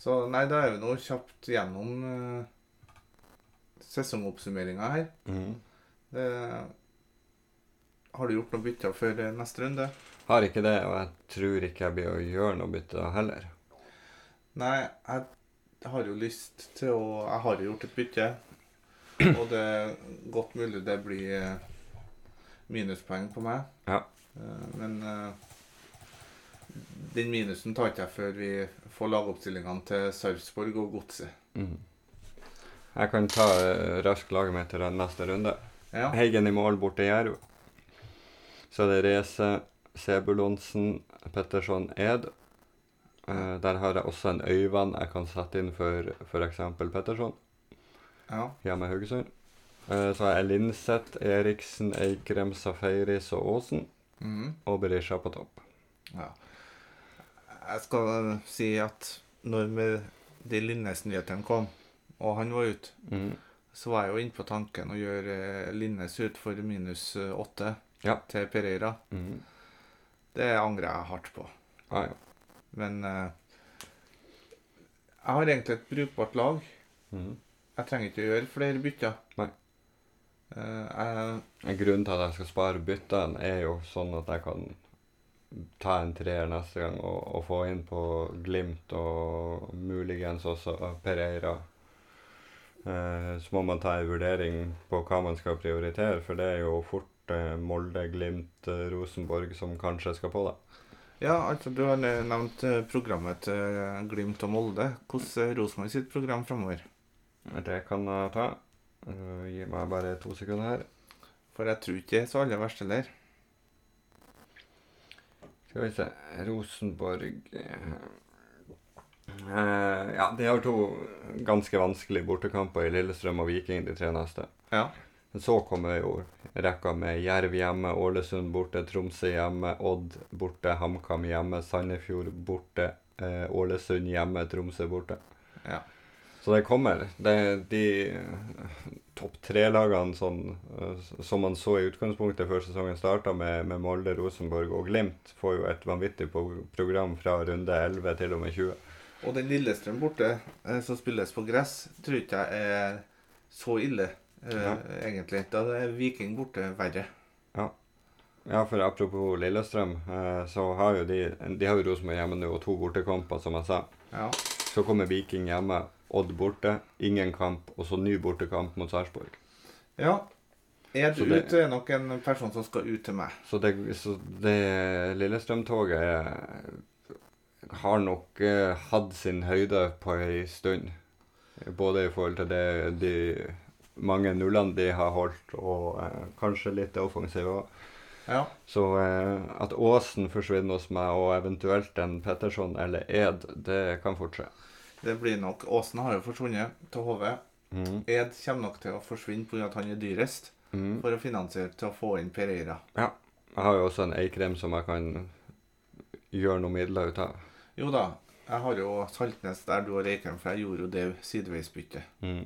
Speaker 2: Så nei, da er vi nå kjapt gjennom uh, sesongoppsummeringa her.
Speaker 1: Mhm.
Speaker 2: Det, har du gjort noe bytter før eh, neste runde?
Speaker 1: Har ikke det, og jeg tror ikke jeg blir å gjøre noe bytte heller.
Speaker 2: Nei, jeg har jo lyst til å Jeg har jo gjort et bytte. Og det er godt mulig det blir eh, minuspoeng på meg.
Speaker 1: Ja.
Speaker 2: Eh, Men eh, den minusen tar ikke jeg før vi får lagoppstillingene til Sarpsborg og Godset.
Speaker 1: Mhm. Jeg kan ta eh, raskt laget mitt til den neste runde.
Speaker 2: Ja.
Speaker 1: Heigen i mål borte i Jerv. Så det er Reze, Sebulonsen, Petterson, Ed. Eh, der har jeg også en Øyvann jeg kan sette inn for f.eks. Petterson
Speaker 2: ja.
Speaker 1: hjemme i Haugesund. Eh, så har jeg Linseth, Eriksen, Eikrem, Safaris og Aasen.
Speaker 2: Mhm.
Speaker 1: Og Berisha på topp.
Speaker 2: ja. Jeg skal si at når med de Linnes-nyhetene kom, og han var ute,
Speaker 1: Mm.
Speaker 2: så var jeg jo inne på tanken å gjøre eh, Linnes ut for minus eh, åtte
Speaker 1: Ja.
Speaker 2: til Pereira.
Speaker 1: Mm.
Speaker 2: Det angrer jeg hardt på.
Speaker 1: Ah, ja.
Speaker 2: Men eh, jeg har egentlig et brukbart lag.
Speaker 1: Mhm.
Speaker 2: Jeg trenger ikke å gjøre flere bytter.
Speaker 1: Nei.
Speaker 2: Eh, jeg,
Speaker 1: En grunn til at jeg skal spare byttene, er jo sånn at jeg kan ta en treer neste gang og, og få inn på Glimt og muligens også Pereira. Eh, så må man ta en vurdering på hva man skal prioritere, for det er jo fort eh, Molde, Glimt, eh, Rosenborg som kanskje skal på, da.
Speaker 2: ja, altså Du har ne- nevnt eh, programmet til eh, Glimt og Molde. Hvordan er Rosenborg sitt program framover?
Speaker 1: Det kan jeg ta. Eh, gi meg bare to sekunder her.
Speaker 2: For jeg tror ikke det er så aller verst heller.
Speaker 1: Skal vi se Rosenborg eh, Ja, de har to ganske vanskelige bortekamper i Lillestrøm og Viking, de tre neste.
Speaker 2: Ja.
Speaker 1: Men så kommer jo rekka med Jerv hjemme, Ålesund borte, Tromsø hjemme, Odd borte, HamKam hjemme, Sandefjord borte, eh, Ålesund hjemme, Tromsø borte.
Speaker 2: Ja.
Speaker 1: Så det kommer. Det, de eh, topp tre-lagene sånn, eh, som man så i utgangspunktet før sesongen starta, med, med Molde, Rosenborg og Glimt, får jo et vanvittig po- program fra runde 11 til og med 20.
Speaker 2: Og den Lillestrøm borte, eh, som spilles på gress, tror ikke jeg er så ille, eh,
Speaker 1: Ja.
Speaker 2: egentlig. Da er Viking borte verre.
Speaker 1: Ja, for apropos Lillestrøm, eh, så har jo de, de har jo Rosenborg hjemme nå og to bortekamper, som jeg sa.
Speaker 2: Ja.
Speaker 1: Så kommer Viking hjemme, Odd borte, ingen kamp, og så ny bortekamp mot Sarpsborg.
Speaker 2: ja. Er
Speaker 1: Så
Speaker 2: du
Speaker 1: det-
Speaker 2: ute, er nok en person som skal ut til meg.
Speaker 1: Så det, så det Lillestrøm-toget er- har nok eh, hatt sin høyde på ei stund. Både i forhold til det de mange nullene de har holdt, og eh, kanskje litt offensive òg.
Speaker 2: Ja.
Speaker 1: Så eh, at Aasen forsvinner hos meg, og eventuelt en Petterson eller Ed, det kan fort skje.
Speaker 2: Det blir nok Åsen har jo forsvunnet til HV.
Speaker 1: Mhm.
Speaker 2: Ed kommer nok til å forsvinne pga. at han er dyrest,
Speaker 1: Mhm.
Speaker 2: for å finansiere til å få inn Pereira.
Speaker 1: Jeg har jo også en Eikrem som jeg kan gjøre noen midler ut av.
Speaker 2: Jo da, jeg har jo Saltnes der du og Reikheim, for jeg gjorde jo det sideveisbyttet.
Speaker 1: Mhm.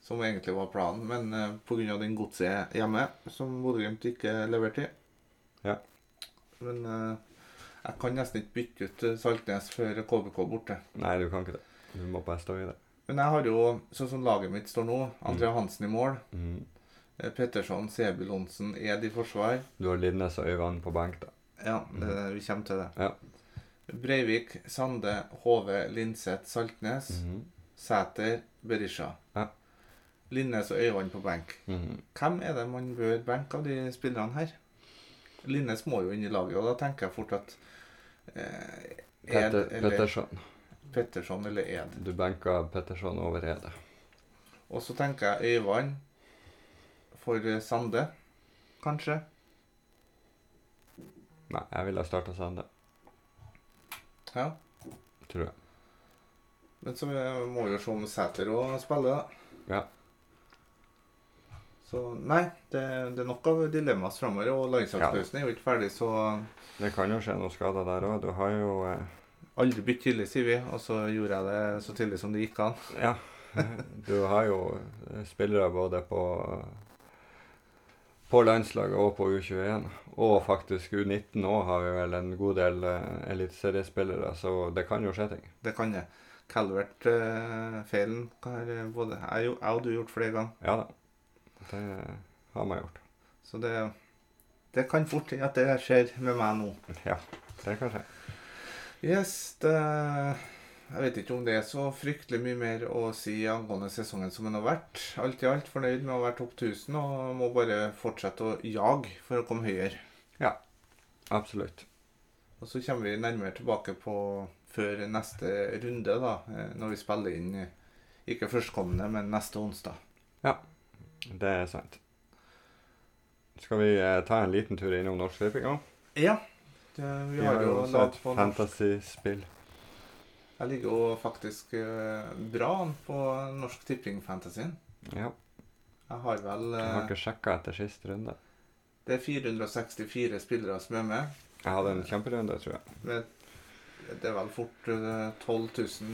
Speaker 2: Som egentlig var planen, men eh, på pga. den godset hjemme, som Bodø-Glimt ikke leverte i.
Speaker 1: Ja.
Speaker 2: Men eh, jeg kan nesten ikke bytte ut eh, Saltnes før KBK er borte.
Speaker 1: Nei, du kan ikke det. Du må bare stå i det.
Speaker 2: Men jeg har jo, sånn som laget mitt står nå,
Speaker 1: Mm.
Speaker 2: Andrea Hansen i mål.
Speaker 1: Mhm.
Speaker 2: eh, Petterson, Sebul Onsen, Ed i forsvar.
Speaker 1: Du har Linnes og Øyvann på benk, da.
Speaker 2: Ja, det, vi kommer til det.
Speaker 1: Mm. Ja.
Speaker 2: Breivik, Sande, Hove, Linseth, Saltnes,
Speaker 1: Mhm.
Speaker 2: Sæter, Berisha.
Speaker 1: Ja.
Speaker 2: Linnes og Øyvann på benk.
Speaker 1: Mhm.
Speaker 2: Hvem er det man bør benke av de spillerne her? Linnes må jo inn i laget, og da tenker jeg fort at eh, Ed
Speaker 1: Petter,
Speaker 2: eller
Speaker 1: Petterson.
Speaker 2: Petterson eller Ed.
Speaker 1: Du benka Petterson over Ede.
Speaker 2: Og så tenker jeg Øyvann for eh, Sande, kanskje.
Speaker 1: Nei, jeg ville ha starta Sande,
Speaker 2: Ja.
Speaker 1: tror jeg.
Speaker 2: Men så eh, må vi jo se om Sæter òg spiller, da.
Speaker 1: Ja.
Speaker 2: Så nei, det, det er nok av dilemmaer framover. Og landslagspausen er jo ikke ferdig, så
Speaker 1: Det kan jo skje noen skader der òg. Du har jo eh,
Speaker 2: aldri bytt tidlig, sier vi. Og så gjorde jeg det så tidlig som det gikk an.
Speaker 1: Ja. Du har jo eh, spillere både på på landslaget og på U21. Og faktisk U19 òg har vi vel en god del eh, eliteseriespillere, så det kan jo skje ting.
Speaker 2: Det kan jeg. Calvert-feilen har eh, både jeg jo- jeg og du gjort flere ganger.
Speaker 1: Ja da. Det har man gjort.
Speaker 2: Så det, det kan fort hende at det skjer med meg nå.
Speaker 1: Ja, det kan skje.
Speaker 2: Yes, det Jeg vet ikke om det er så fryktelig mye mer å si angående sesongen som den har vært. Alt i alt fornøyd med å være topp 1000 og må bare fortsette å jage for å komme høyere.
Speaker 1: Absolutt.
Speaker 2: Og så kommer vi nærmere tilbake på før neste runde, da, eh, når vi spiller inn eh, ikke førstkommende, men neste onsdag.
Speaker 1: Det er sant. Skal vi eh, ta en liten tur innom Norsk Tipping òg?
Speaker 2: Ja. Det, vi har jo
Speaker 1: også
Speaker 2: lag
Speaker 1: et
Speaker 2: på
Speaker 1: fantasyspill.
Speaker 2: Jeg ligger jo faktisk eh, bra an på Norsk Tipping-fantasyen.
Speaker 1: Ja.
Speaker 2: Jeg har vel
Speaker 1: Jeg
Speaker 2: eh,
Speaker 1: har ikke sjekka etter sist runde.
Speaker 2: Det er 464 spillere som er med.
Speaker 1: Jeg hadde en kjemperunde, tror jeg.
Speaker 2: Men det er vel fort eh, 12 000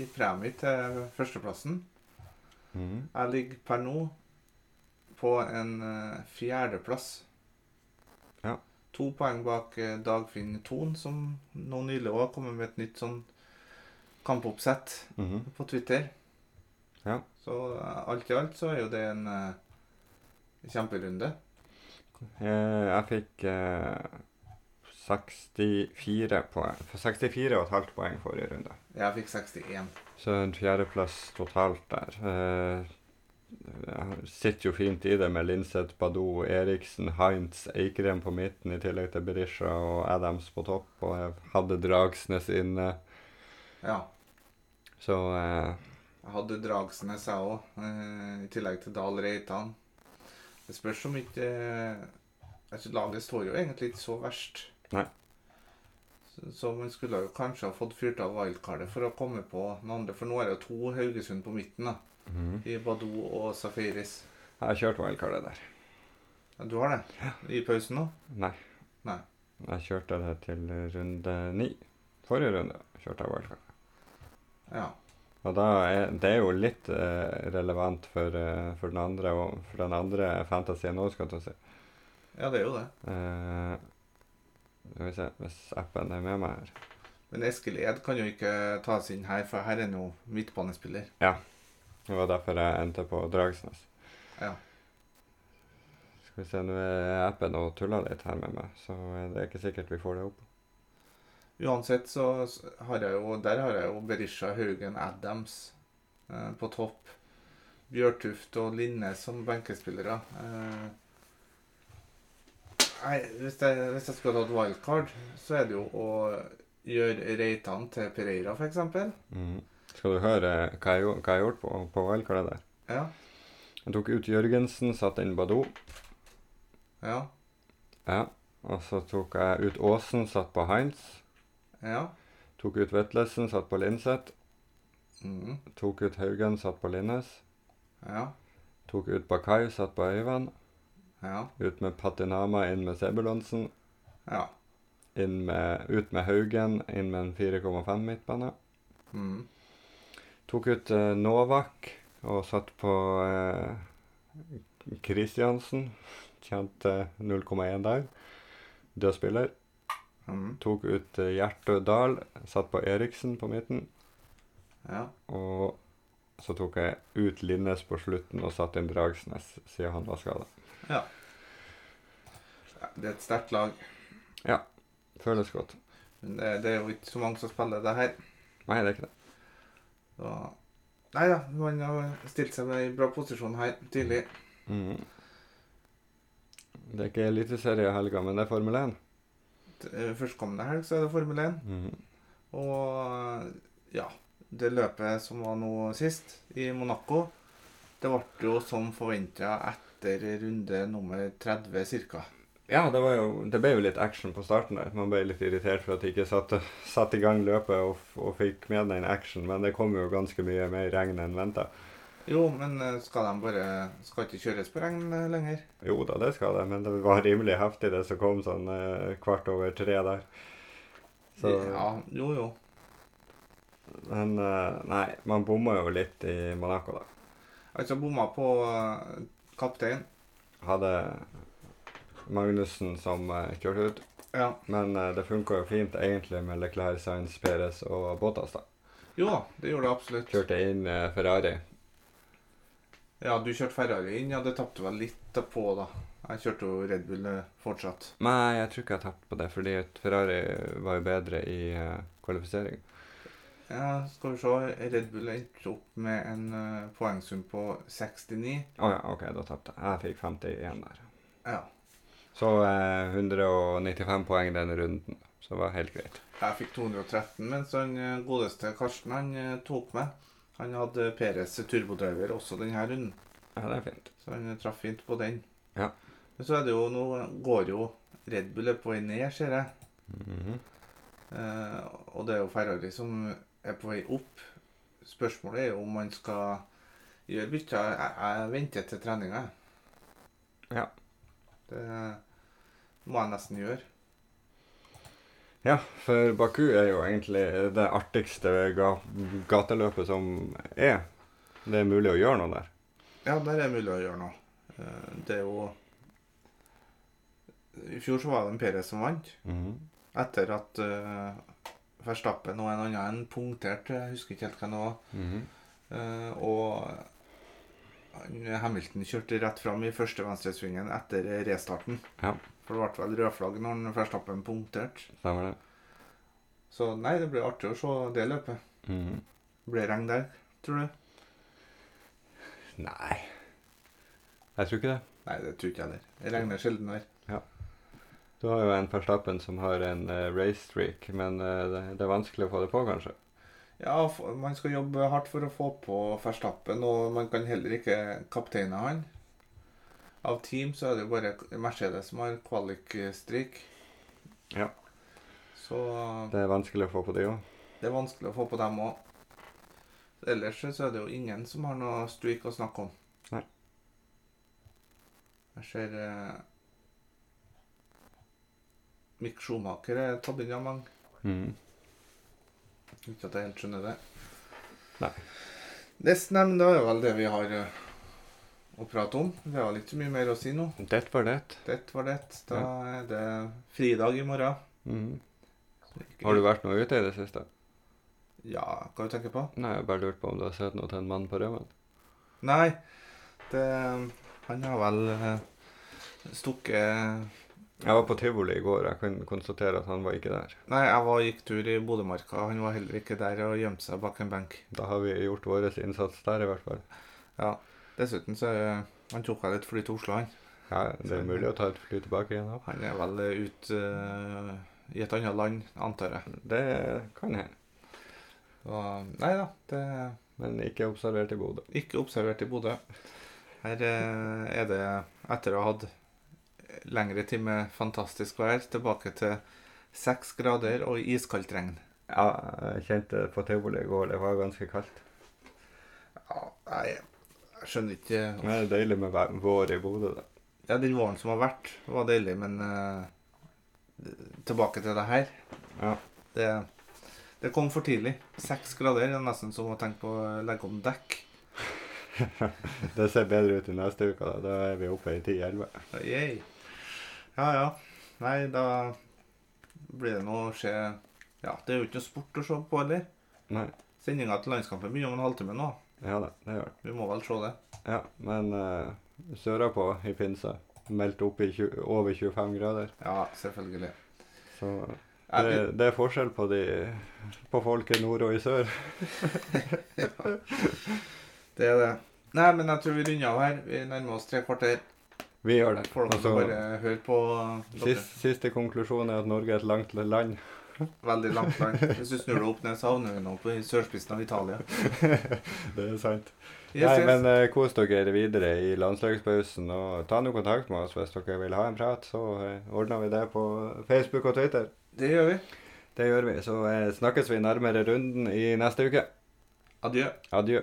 Speaker 2: i premie til førsteplassen.
Speaker 1: Mhm.
Speaker 2: Jeg ligger per nå på en eh, fjerdeplass.
Speaker 1: Ja.
Speaker 2: To poeng bak eh, Dagfinn Thon, som nå nylig òg kommer med et nytt sånn kampoppsett
Speaker 1: Mhm.
Speaker 2: på Twitter.
Speaker 1: Ja.
Speaker 2: Så eh, alt i alt så er jo det en eh, kjemperunde.
Speaker 1: Eh, Jeg fikk eh, 64 poeng. 64,5 poeng forrige runde.
Speaker 2: Jeg fikk 61.
Speaker 1: Så en fjerdeplass totalt der. Eh, Jeg sitter jo fint i det med Linseth, Badou, Eriksen, Heinz, Eikrem på midten, i tillegg til Berisha og Adams på topp. Og jeg hadde Dragsnes inne,
Speaker 2: Ja.
Speaker 1: så eh,
Speaker 2: Jeg hadde Dragsnes, jeg òg, i tillegg til Dahl Reitan. Det spørs om ikke eh, altså, Laget står jo egentlig ikke så verst.
Speaker 1: Nei.
Speaker 2: Så, så man skulle jo kanskje ha fått fyrt av wildcardet for å komme på noen andre. For nå er det jo to Haugesund på midten, da.
Speaker 1: mhm.
Speaker 2: I Badou og Safaris.
Speaker 1: Jeg har kjørt wildcardet der.
Speaker 2: Ja, du har det? I pausen nå?
Speaker 1: Nei.
Speaker 2: Nei.
Speaker 1: Jeg kjørte det til runde ni. Forrige runde kjørte jeg wildcard.
Speaker 2: Ja.
Speaker 1: Og da er det er jo litt eh, relevant for, eh, for, den andre, og- for den andre fantasyen òg, skal du si.
Speaker 2: Ja, det er jo det.
Speaker 1: Eh, Skal vi se hvis appen er med meg her.
Speaker 2: Men Eskil Ed kan jo ikke tas inn her, for her er han jo midtbanespiller.
Speaker 1: Det var derfor jeg endte på Dragsnes.
Speaker 2: Ja.
Speaker 1: Skal vi se, nå er appen og tuller litt her med meg, så eh, det er ikke sikkert vi får det opp.
Speaker 2: Uansett så s- har jeg jo Der har jeg jo Berisha Haugen Adams eh, på topp. Bjørtuft og Linne som benkespillere. Eh, nei, hvis jeg, hvis jeg skulle hatt wildcard, så er det jo å gjøre Reitan til Pereira, f.eks.
Speaker 1: Mhm. Skal du høre eh, hva jeg, gjo- hva jeg gjorde på, på wildcardet der?
Speaker 2: Ja.
Speaker 1: Jeg tok ut Jørgensen, satte inn Badou.
Speaker 2: Ja.
Speaker 1: Ja. Og så tok jeg ut Aasen, satt på Heinz.
Speaker 2: Ja.
Speaker 1: Tok ut Vetlesen, satt på Linseth.
Speaker 2: Mm,
Speaker 1: Tok ut Haugen, satt på Linnes.
Speaker 2: ja.
Speaker 1: Tok ut Bakai, satt på Øyvand.
Speaker 2: Ja.
Speaker 1: Ut med Patinama, inn med Sebulonsen.
Speaker 2: Ja.
Speaker 1: Inn med, ut med Haugen, inn med en 4,5 midtbane.
Speaker 2: Mm.
Speaker 1: Tok ut eh, Novak og satt på eh, Kristiansen. eh, Tjente 0,1 der. Dødspiller.
Speaker 2: Mm.
Speaker 1: Tok ut eh, Gjertø Dahl, satt på Eriksen på midten.
Speaker 2: Ja.
Speaker 1: Og så tok jeg ut Linnes på slutten og satt inn Dragsnes, siden han var skada.
Speaker 2: Det er et sterkt lag.
Speaker 1: Føles godt.
Speaker 2: Men det, det er jo ikke så mange som spiller det her.
Speaker 1: Nei, det er ikke det.
Speaker 2: Så, nei da, man har stilt seg med en bra posisjon her tidlig.
Speaker 1: Mhm. Det er ikke Eliteserie i helga, men det er Formel 1.
Speaker 2: T- eh, Førstkommende helg så er det Formel 1. Og ja, det løpet som var nå sist, i Monaco, det ble jo som forventa etter runde nummer 30 ca.
Speaker 1: Ja, det, var jo, det ble jo litt action på starten der. Man ble litt irritert for at de ikke satte, satte i gang løpet og, f- og fikk med den action, men det kom jo ganske mye mer regn enn venta.
Speaker 2: Jo, men eh, skal de bare Skal ikke kjøres på regn eh, lenger?
Speaker 1: Jo da, det skal det, men det var rimelig heftig det som kom sånn eh, kvart over tre der. Så,
Speaker 2: Ja, jo, jo.
Speaker 1: Men eh, nei, man bomma jo litt i Monaco, da.
Speaker 2: Altså bomma på eh, kaptein.
Speaker 1: Hadde Magnussen som eh, kjørte ut.
Speaker 2: Ja.
Speaker 1: Men eh, det funka jo fint egentlig med Leclerc, Sainz, Perez og Bottas. da.
Speaker 2: Jo da, det gjorde det absolutt.
Speaker 1: Kjørte inn eh, Ferrari.
Speaker 2: Ja, du kjørte Ferrari inn, ja, det tapte vel litt på, da. Jeg kjørte jo Red Bull eh, fortsatt.
Speaker 1: Nei, jeg tror ikke jeg tapte på det, fordi at Ferrari var jo bedre i eh, kvalifisering.
Speaker 2: Ja, skal vi se. Red Bull endte opp med en eh, poengsum på 69.
Speaker 1: Å ja, OK, da tapte jeg. Jeg fikk 51 der.
Speaker 2: Ja.
Speaker 1: Så eh, 195 poeng denne runden, så det var helt greit.
Speaker 2: Jeg fikk 213, mens han eh, godeste Karsten han eh, tok med. Han hadde Peres turbodriver også denne runden,
Speaker 1: Ja, det er fint.
Speaker 2: så han traff fint på den.
Speaker 1: Ja.
Speaker 2: Men så er det jo Nå går jo Red Bull er på vei ned, ser jeg.
Speaker 1: Mhm.
Speaker 2: Eh, og det er jo Ferrari som er på vei opp. Spørsmålet er jo om man skal gjøre bytter. Jeg, jeg venter til treninga. jeg.
Speaker 1: Ja.
Speaker 2: Det må jeg nesten gjøre.
Speaker 1: Ja, for Baku er jo egentlig det artigste ga gateløpet som er. Det er mulig å gjøre noe der.
Speaker 2: Ja, der er det mulig å gjøre noe. Eh, det er jo I fjor så var det en Perez som vant.
Speaker 1: Mhm.
Speaker 2: Etter at eh, Verstappen og en annen punkterte, jeg husker ikke helt hva det var.
Speaker 1: Mhm.
Speaker 2: Eh, og han- Hamilton kjørte rett fram i første venstresvingen etter restarten.
Speaker 1: Ja.
Speaker 2: For det ble vel rødflagg når han Verstappen punkterte.
Speaker 1: Stemmer det.
Speaker 2: Så nei, det blir artig å se det løpet.
Speaker 1: Mhm.
Speaker 2: Blir det regn der, tror du?
Speaker 1: Nei. Jeg tror ikke det.
Speaker 2: Nei, det tror ikke jeg heller. Det regner sjelden her.
Speaker 1: Du har jo en Verstappen som har en eh, race streak, men eh, det, det er vanskelig å få det på, kanskje.
Speaker 2: Ja, f- man skal jobbe hardt for å få på Verstappen, og man kan heller ikke kapteine han. Av team så er det jo bare Mercedes som har kvalik-streak.
Speaker 1: Ja.
Speaker 2: Så
Speaker 1: Det er vanskelig å få på de òg.
Speaker 2: Det er vanskelig å få på dem òg. Ellers så er det jo ingen som har noe streak å snakke om.
Speaker 1: Nei.
Speaker 2: Jeg ser eh, Mick Schumacher er tatt inn av mange. Ikke at jeg helt skjønner det.
Speaker 1: Nei.
Speaker 2: Nesten, nei, men det er vel det vi har eh, å prate om. Vi har litt så mye mer å si nå.
Speaker 1: Det var det.
Speaker 2: Det var det. Da er det fridag i morgen.
Speaker 1: Mhm. Har du vært noe ute i det siste?
Speaker 2: Ja, hva du tenker på?
Speaker 1: Nei, jeg bare lurte på om du har sett noe til en mann på rømmen.
Speaker 2: Nei, det, han har vel eh, stukket eh,
Speaker 1: Jeg var på tivoli i går. Jeg kunne konstatere at han var ikke der.
Speaker 2: Nei, jeg var, gikk tur i Bodømarka. Han var heller ikke der og gjemte seg bak en benk.
Speaker 1: Da har vi gjort vår innsats der, i hvert fall.
Speaker 2: Dessuten så eh, han tok seg litt fly til Oslo, han.
Speaker 1: Ja, det er mulig å ta et fly tilbake igjen. da.
Speaker 2: Han er vel ute i et annet land, antar jeg.
Speaker 1: Det kan hende.
Speaker 2: Og, nei da, det er
Speaker 1: Men ikke observert i Bodø.
Speaker 2: ikke observert i Bodø. Her eh, er det, etter å ha hatt lengre tid med fantastisk vær, tilbake til seks grader og iskaldt regn.
Speaker 1: Ja, jeg kjente på tivoli i går. Det var ganske kaldt.
Speaker 2: Ja, nei, jeg skjønner ikke
Speaker 1: Men det er deilig med væ- vår i Bodø, da.
Speaker 2: Ja, den våren som har vært, var deilig, men eh, tilbake til det her
Speaker 1: Ja.
Speaker 2: det, det kom for tidlig. Seks grader. Det er nesten som å tenke på å legge om dekk.
Speaker 1: Det ser bedre ut i neste uke. Da Da er vi oppe i 10-11.
Speaker 2: Yay. Ja, ja. Nei, da blir det noe å se Ja, det er jo ikke noe sport å se på heller.
Speaker 1: Nei.
Speaker 2: Sendinga til landskampen begynner om en halvtime nå.
Speaker 1: Ja da, det gjør det.
Speaker 2: Vi må vel se det.
Speaker 1: Ja, men uh, sørapå i pinsa meldt opp i 20, over 25 grader.
Speaker 2: Ja, selvfølgelig.
Speaker 1: Så
Speaker 2: Jeg,
Speaker 1: det, det er forskjell på, de, på folk i nord og i sør.
Speaker 2: det er det. Nei, men jeg tror vi runder av her. Vi nærmer oss tre kvarter.
Speaker 1: Vi gjør det.
Speaker 2: Folk
Speaker 1: Altså,
Speaker 2: bare høre på. dere.
Speaker 1: sist, siste konklusjon er at Norge er et langt land.
Speaker 2: Veldig langt land. Hvis du snur deg opp ned, så havner vi nå på i sørspissen av Italia.
Speaker 1: Det er sant.
Speaker 2: Yes,
Speaker 1: Nei,
Speaker 2: yes.
Speaker 1: men eh, kos dere videre i landslagspausen, og ta nå kontakt med oss hvis dere vil ha en prat, så eh, ordner vi det på Facebook og Twitter.
Speaker 2: Det gjør vi.
Speaker 1: Det gjør vi. Så eh, snakkes vi nærmere runden i neste uke.
Speaker 2: Adjø.
Speaker 1: Adjø.